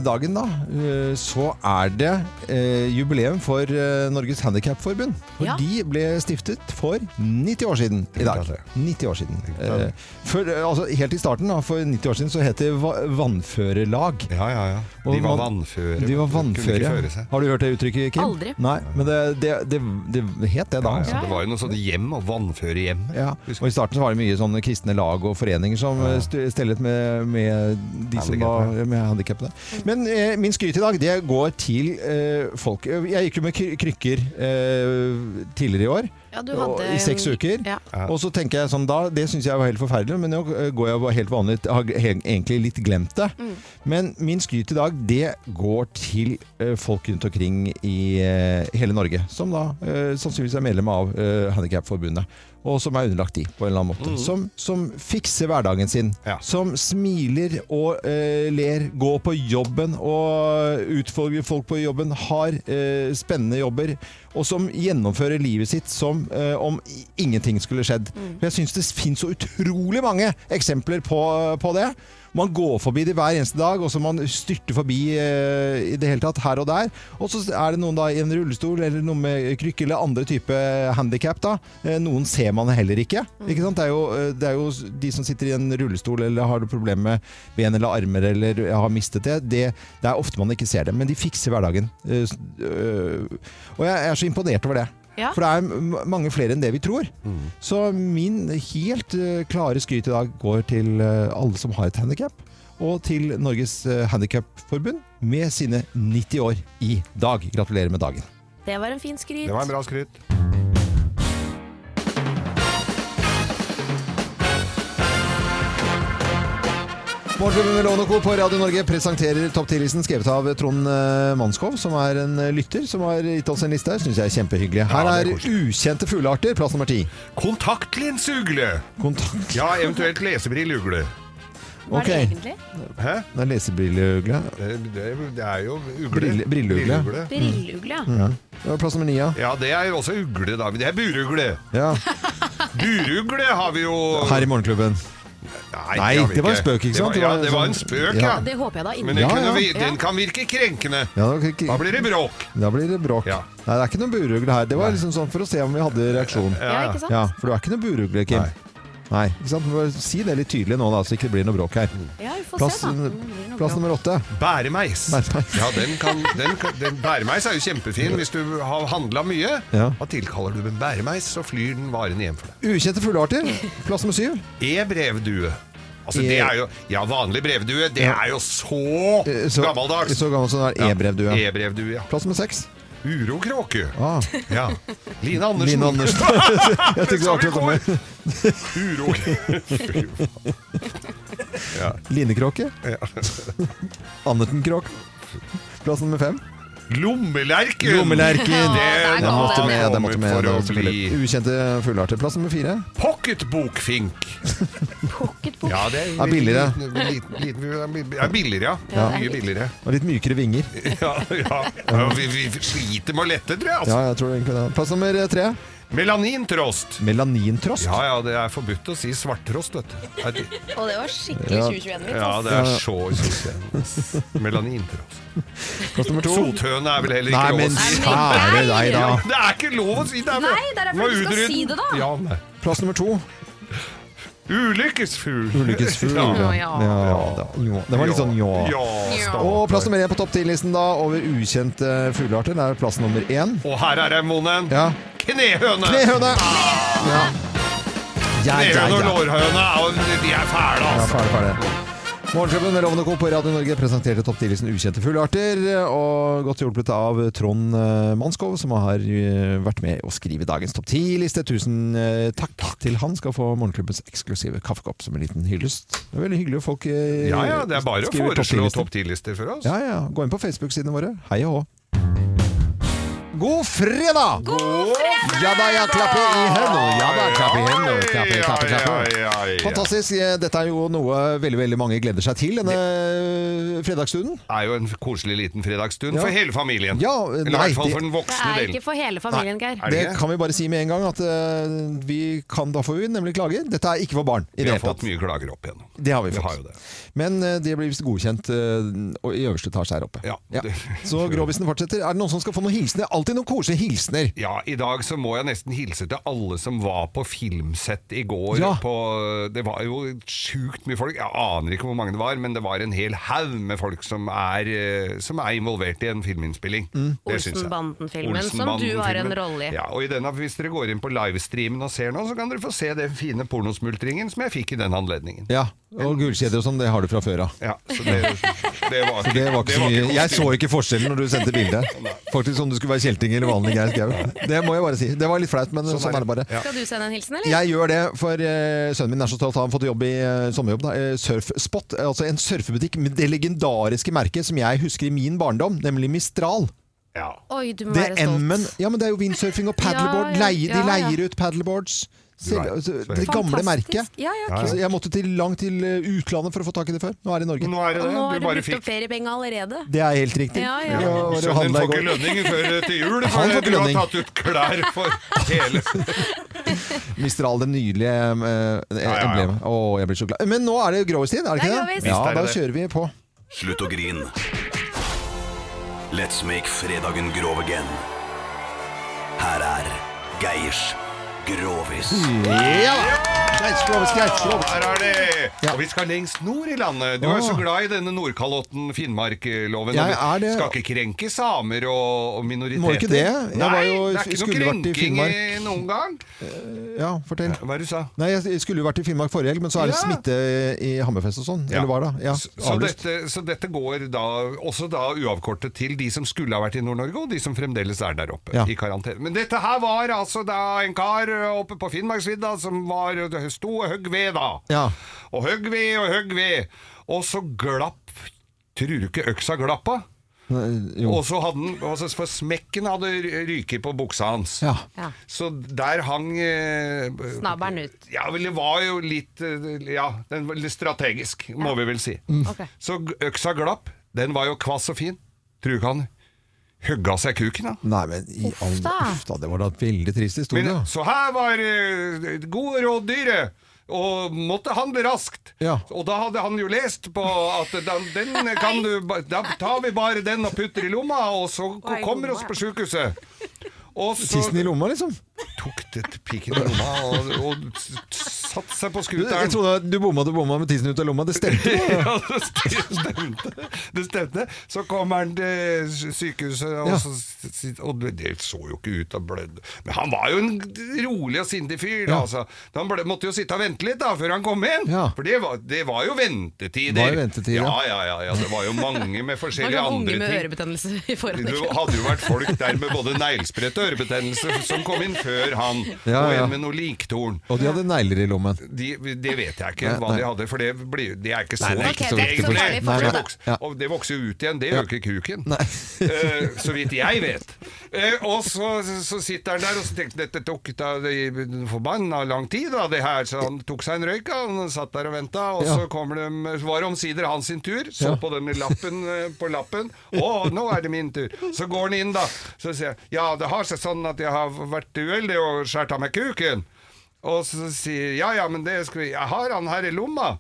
B: dagen, da, eh, så er det eh, jubileum for eh, Norges Handikapforbund. For
C: Ja.
B: de ble stiftet for 90 år siden i dag. 90 år siden. Eh, Før, eh, altså, helt i starten, da, for 90 år siden, så het det va- vannførerlag.
A: Ja, ja, ja. De
B: Og
A: var
B: man-
A: vannføre.
B: De var
A: Kunne ikke
B: vannføre.
A: føre seg.
B: Har du hørt det uttrykket, Kim?
C: Aldri.
B: Nei, men det, det, det, det het det da.
A: Ja,
B: altså.
A: ja, det var jo noe sånt hjem og vannføre hjem.
B: Ja, og I starten så var det mye sånne kristne lag og foreninger som eh, st- stellet med, med de som var med handikappede. Men eh, min skryt i dag det går til eh, folk. Jeg gikk jo med kry- krykker eh, tidligere i år.
C: Ja, du
B: og-
C: hadde
B: I seks
C: en-
B: uker.
C: Ja.
B: Og så tenker jeg sånn da, Det syns jeg var helt forferdelig, men nå eh, går jeg bare helt vanlig. Jeg Har he- egentlig litt glemt det.
C: Mm.
B: Men min skryt i dag, det går til eh, folk rundt omkring i eh, hele Norge. Som da eh, sannsynligvis er medlem av eh, Handikapforbundet. Og som er underlagt de, på en eller annen måte. Som, som fikser hverdagen sin.
A: Ja.
B: Som smiler og eh, ler. Går på jobben og utfordrer folk på jobben. Har eh, spennende jobber. Og som gjennomfører livet sitt som liksom, eh, om i- ingenting skulle skjedd. For jeg syns det finnes så utrolig mange eksempler på, på det. Man går forbi det hver eneste dag, og så man styrter forbi eh, i det hele tatt her og der. Og så er det noen da i en rullestol eller noen med krykke eller andre type handikap. Da. Eh, Noen ser man heller ikke. ikke sant? Det, er jo, eh, det er jo s- de som sitter i en rullestol eller har problemer med ben eller armer eller har mistet det. det. Det er ofte man ikke ser dem, men de fikser hverdagen. Eh, s- øh, Og jeg er så imponert over det.
C: Ja.
B: For det er m- mange flere enn det vi tror. Så min helt eh, klare skryt i dag går til eh, alle som har et handikap. Og til Norges eh, Handikapforbund med sine 90 år i dag. Gratulerer med dagen.
C: Det var en fin skryt.
A: Det var en bra skryt.
B: Morgenklubben med Lovende Co. på Radio Norge presenterer Topp 10-listen skrevet av Trond eh, Manskov, som er en eh, lytter som har gitt oss en liste her. Syns jeg er kjempehyggelig. Her
A: Ja, det
B: er
A: er
B: ukjente fuglearter, plass nummer ti.
A: Kontaktlinsugle!
B: Kontakt...
A: Ja, eventuelt lesebrilleugle.
C: Hva er
B: ok.
C: det egentlig?
A: Hæ?
B: Det er lesebrilleugle.
A: Det, det, det er jo ugle.
B: Brille- brilleugle.
C: Brilleugle, ja.
B: Mm. Ja, Plass nummer ni, ja.
A: Ja, det er jo også ugle, da. men Det er burugle.
B: ja.
A: Burugle har vi jo
B: Her i Morgenklubben. Nei,
A: har vi
B: det var en spøk, ikke sant?
A: Det var,
B: Det
A: ja, det
B: var
A: var
B: sånn-
A: en spøk,
B: Ja.
A: ja.
C: Det håper jeg da
A: Men den,
B: Ja,
C: inderlig.
A: kunne
B: ja.
A: vi, den kan virke krenkende.
B: Ja, det var ikke-
A: Da blir det bråk.
B: Da blir det bråk.
A: Ja.
B: Nei, det er ikke noen burugle her. Det var liksom sånn for å se om vi hadde reaksjon.
C: Ja, ikke sant?
B: Ja, For du er ikke noen burugle, Kim.
A: Nei.
B: Nei, ikke sant? Men bare Si det litt tydelig nå, da, så ikke det blir noe bråk her.
C: Ja, vi får
B: Plass,
C: se, da. Om det blir noe
B: plass
C: bra.
B: nummer åtte.
A: Bæremeis.
B: Bæremeis.
A: Ja, den kan, den kan, den, bæremeis er jo kjempefin hvis du har handla mye.
B: Ja.
A: Da tilkaller du en bæremeis, så flyr den varene hjem for deg.
B: Ukjente fuglearter. Plass nummer syv.
A: E-brevdue. Altså,
B: E-
A: det er jo Ja, vanlig brevdue, det
B: Ja.
A: er jo så
B: Eh, så-
A: gammeldags.
B: Så gammel som det er e-brevdue.
A: Ja, E- E-brevdue, ja.
B: Plass nummer seks.
A: Urokråke.
B: Ah,
A: Ja. Line Andersen.
B: Line Andersen. Jeg tenkte det
A: Som
B: var
A: vi går.
B: akkurat kommer.
A: Uro. Fy faen.
B: Linekråke. Andertenkråke. Plass nummer fem.
A: Lommelerken!
B: Lommelerken.
A: Det
B: Den måtte
A: var
B: med. Den måtte med
A: for
B: da,
A: å
B: selvfølgelig.
A: bli
B: Ukjente fuglearter. Plass nummer fire.
A: Pocketbokfink.
C: Pocketbok.
A: Ja, det
B: Er billigere.
A: Liten, liten, liten, ja, billigere, ja.
C: Ja, det er
A: Mye
C: litt-
A: billigere.
B: Og litt mykere vinger.
A: Ja, ja. ja vi, vi sliter med å lette, tror jeg. Altså.
B: Ja, jeg tror egentlig det. Plass nummer tre.
A: Melanintrost.
B: Melanintrost.
A: Ja, ja, det er forbudt å si svarttrost, vet du. Er det-
C: Og det var skikkelig
B: Ja.
C: 2021-vits.
A: Ja, det er så sykt. Melanintrost.
B: Plass nummer to.
A: Sothøne er vel heller
B: Nei,
A: ikke lov
B: men
A: å si.
B: kjære deg, da.
A: Ja, det er ikke lov å si! Det er vel-
C: Nei, det er derfor
A: må
C: du skal
A: utrydde-
C: si det, da.
A: Ja, nei.
B: Plass nummer to.
A: Ulykkesfugl.
B: Ulykkesfugl.
A: Ja.
B: Ja, da. Jo. Det var litt sånn ja.
A: ja stakkar.
B: Og plass nummer én på topp ti-listen da over ukjente fuglearter. Det er plass nummer én.
A: Og her er det monen.
B: Ja.
A: Knehøne!
B: Knehøne! Ja. Ja, ja,
A: Knehøne og
B: ja.
A: lårhøne, og de er fæle,
B: Ja,
A: altså.
B: ferdig, ferdig. Morgenklubben med Lovende Co. på Radio Norge presenterte topp 10-listen ukjente fuglearter, og godt hjulpet av Trond eh, Manskov, som har eh, vært med å skrive dagens topp 10-liste. Tusen eh, takk til han. Skal få morgenklubbens eksklusive kaffekopp som en liten hyllest. Det er veldig hyggelig at folk eh,
A: Ja, ja, det er bare å
B: skriver topp
A: foreslå
B: 10-listen.
A: topp 10-lister for oss.
B: Ja, ja. Gå inn på Facebook-sidene våre. Hei og hå. God fredag!
A: God fredag!
B: Ja da, ja, klappe i hendene. Ja da, klappe i hendene. Klappe, klappe, klappe.
A: Ja, ja, ja, ja.
B: Fantastisk. Dette er jo noe veldig veldig mange gleder seg til denne fredagsstunden.
A: Det er jo en koselig liten fredagsstund
B: Ja.
A: for hele familien.
B: Ja,
A: Eller i
B: nei,
A: hvert fall
B: det-
A: for den
C: Det
A: voksne
C: er
A: delen.
C: ikke for hele familien, Geir.
A: Er det
B: Det
A: ikke?
B: kan vi bare si med en gang, at eh, vi kan da få nemlig klager. Dette er ikke for barn. i
A: Vi
B: det
A: har
B: hele tatt.
A: fått mye klager opp igjennom.
B: Det har vi
A: Vi
B: fått.
A: har jo det.
B: Men eh, det blir visst godkjent eh, og i øverste etasje her oppe.
A: Ja.
B: Så grovisen fortsetter. Er det noen som skal få noen hilsener? Alltid noen koselige hilsener.
A: Ja, i dag så må jeg nesten hilse til alle som var på filmsett i går.
B: Ja.
A: På, det var jo sjukt mye folk. Jeg aner ikke hvor mange det var, men det var en hel haug med folk som er, eh, som er involvert i en filminnspilling.
B: Mm.
A: Det syns jeg.
C: Olsenbanden-filmen, som du har en
A: Olsenbanden-filmen.
C: rolle i.
A: Ja, og i den, Hvis dere går inn på livestreamen og ser nå, så kan dere få se den fine pornosmultringen som jeg fikk i den anledningen.
B: Ja, Og gullkjeder og sånn, det har du fra før av.
A: Ja, så det, det var
B: Det var ikke så mye. Jeg så ikke forskjellen når du sendte bildet. Faktisk som du skulle være kjelting eller vanlig Geir Skau. Det må jeg bare si. Det var litt flaut, men sånn er det bare.
A: Ja.
C: Skal du sende en hilsen, eller?
B: Jeg gjør det, for eh, sønnen min er så stolt. Han har fått jobb i eh, sommerjobb. Da. eh, Surfspot, eh, altså en surfebutikk med det legendariske merket som jeg husker i min barndom, nemlig Mistral.
A: Ja.
C: Oi, du må
B: Det
C: være stolt.
B: M-en Ja, men det er jo windsurfing og paddleboard.
C: Ja, ja,
B: Leie, de
C: ja, ja.
B: leier ut paddleboards. Selv,
A: Du er-
B: altså, det
A: Sverige.
B: gamle
C: Fantastisk.
B: merket.
C: Ja, ja,
A: Ja, ja.
B: Altså, jeg måtte til, langt til eh, utlandet for å få tak i det før. Nå er det i Norge.
A: Nå er det
C: Og
A: det.
C: nå har
A: Du
C: du
A: bare
C: brukt opp
A: fikk
C: feriepengene allerede.
B: Det er helt riktig.
C: Ja, ja.
B: Jeg var- var og
A: Sønnen
B: handlet i
A: får
B: går.
A: ikke lønning før eh, til jul.
B: Han får
A: For
B: ikke
A: du har
B: lønning.
A: tatt ut klær for hele
B: Mistral, det nydelige eh,
A: ja, ja.
B: emblemet. Å, jeg blir så glad. Men nå er det grovistid, er det
C: Det
B: ikke
C: er
B: det?
C: grovis.
B: Ja,
A: Visst er det
B: da
A: det.
B: kjører vi på.
I: Slutt å grin. Let's make fredagen grov again. Her er Geirs Grovis.
B: Ja! Geirs, grovis, geirs, grovis.
A: Her er det!
B: Ja.
A: Og vi skal lengst nord i landet. Du er jo så
B: Åh.
A: glad i denne Nordkalotten, Finnmark-loven.
B: Jeg
A: og vi
B: er det.
A: Skal ikke krenke samer og, og minoriteter.
B: Må ikke det. Jeg
A: Nei,
B: var jo-
A: det er ikke
B: skulle
A: noe
B: vært i
A: krenking i
B: Finnmark.
A: noen gang.
B: Ja, fortell.
A: Hva er det du sa?
B: Nei, jeg skulle jo vært i Finnmark forrige helg, men så er det
A: Ja.
B: smitte i Hammerfest og sånn.
A: Ja.
B: Eller var det? Ja,
A: Så, så,
B: avlyst.
A: dette, så dette går da også da uavkortet til de som skulle ha vært i Nord-Norge, og de som fremdeles er der oppe
B: Ja.
A: i karantene. Men dette her var altså da en kar oppe på Finnmarksvidda som var, sto og høgg ved da.
B: Ja.
A: Og høgg ved og høgg ved. Og så glapp Tror du ikke øksa glappa?
B: Nei, Jo.
A: Og så hadde han altså For smekken hadde ryket på buksa hans.
B: Ja.
C: Ja.
A: Så der hang eh,
C: Snabelen ut.
A: ja, vel, det var jo litt eh, Ja, den var litt strategisk, må vi vel si.
B: Mm.
C: Ok.
A: Så g- øksa glapp. Den var jo kvass og fin. Tror du ikke han hugga seg kuken, da?
B: Nei, men i all
C: da.
B: Uff da, det var da en veldig trist historie.
A: Men,
B: da.
A: så her var eh, gode rådyret, og måtte handle raskt.
B: Ja.
A: Og da hadde han jo lest på at da, den kan du ba- Da tar vi bare den og putter i lomma, og så
C: Hva er i
A: kommer
C: lomma?
A: oss på sjukehuset. Og så
B: Tissen i lomma, liksom.
A: tok det piken i lomma og, og s- satte seg på
B: Du, jeg
A: skuteren.
B: trodde at du bomma, du bomma med tissen ut av lomma. Det stemte jo.
A: Ja, det stemte. Det stemte. Så kommer han til sykehuset, og,
B: Ja.
A: så, og det så jo ikke ut av blødd. Men han var jo en rolig og sindig fyr. Da,
B: Ja.
A: altså. Han ble, måtte jo sitte og vente litt da, før han kom hjem.
B: Ja.
A: For det var, det var jo ventetider.
B: Var jo ventetider,
A: ja.
B: ja.
A: Ja, ja, ja. Det var jo mange med
C: Man
A: forskjellige
C: kan få unge
A: andre
C: med
A: ting.
C: ørebetennelse i
A: Det
C: forhånd. ikke sant?
A: hadde jo vært folk der med både neglesprett og ørebetennelse som kom inn før han,
B: Ja,
A: og
B: ja.
A: en med noe liktorn.
B: Og de hadde negler i lommen.
A: De, det vet jeg ikke
B: Nei,
A: hva
B: nei.
A: de hadde, for det, blir, det er ikke så
B: Nei, det er ikke
A: viktig.
B: så viktig
A: egentlig.
B: for det.
A: For det
B: Nei, nei.
A: vokser-
B: Ja.
A: Og det vokser jo ut igjen, det gjør ikke kuken.
B: Nei.
A: Eh, så vidt jeg vet. Eh, og så, så sitter han der og så tenkte dette tok da det- forbanna lang tid, da, det her. Så han tok seg en røyk, han satt der og venta, og
B: Ja.
A: så kommer de, så var det omsider hans sin tur. Så
B: Ja.
A: på den lappen eh, på lappen. Å, nå er det min tur. Så går han inn, da. Så sier jeg ja, det har seg sånn at jeg har vært uheldig og skåret av meg kuken. Og så sier ja, ja, men det skal vi Jeg har han her i lomma.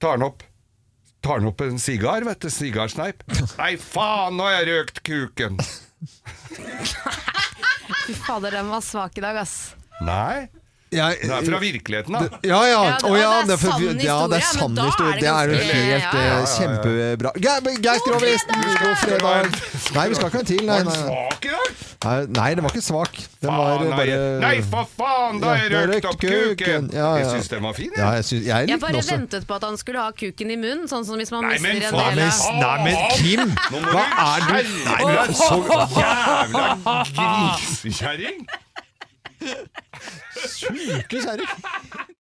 A: Tar han opp Tar han opp en sigar, vet du, sigarsneip Nei faen, nå har jeg røkt kuken
C: Fy fader, den var svak i dag, ass.
A: Nei,
B: Jeg,
A: det er fra virkeligheten da
B: Ja, ja.
C: Ja, det-
B: Å, ja,
C: og det er
B: for-
C: sann
B: ja, det er
C: historie,
B: sann
C: men da er
B: historie.
C: det
B: Det er jo
C: ganske-
B: helt
C: Ja,
B: eh,
C: ja,
B: kjempebra. Ge- Geist Grovis, god fredag! Nei, vi skal ikke ha en til. Nei,
A: Var den
B: nei,
A: svak i dag?
B: nei, nei den var ikke svak. Den var
A: Faen, nei,
B: eh, bare
A: nei, for faen, da har jeg
B: Ja, da
A: røkt opp kuken,
B: Ja, ja.
A: Jeg synes den var fin,
B: Ja,
A: jeg
B: jeg, synes, jeg
C: Jeg
B: likte den
C: bare
B: også.
C: ventet på at han skulle ha kuken i munnen, sånn som hvis man
A: Nei,
C: mister
A: men
C: en
A: faen,
C: del
B: Men,
C: av
B: nei, men Kim,
A: Nå må
B: hva
A: du
B: er du Nei,
A: skjerpe
B: men
A: deg,
B: så
A: jævla grisekjæring
B: sjuke kjerring!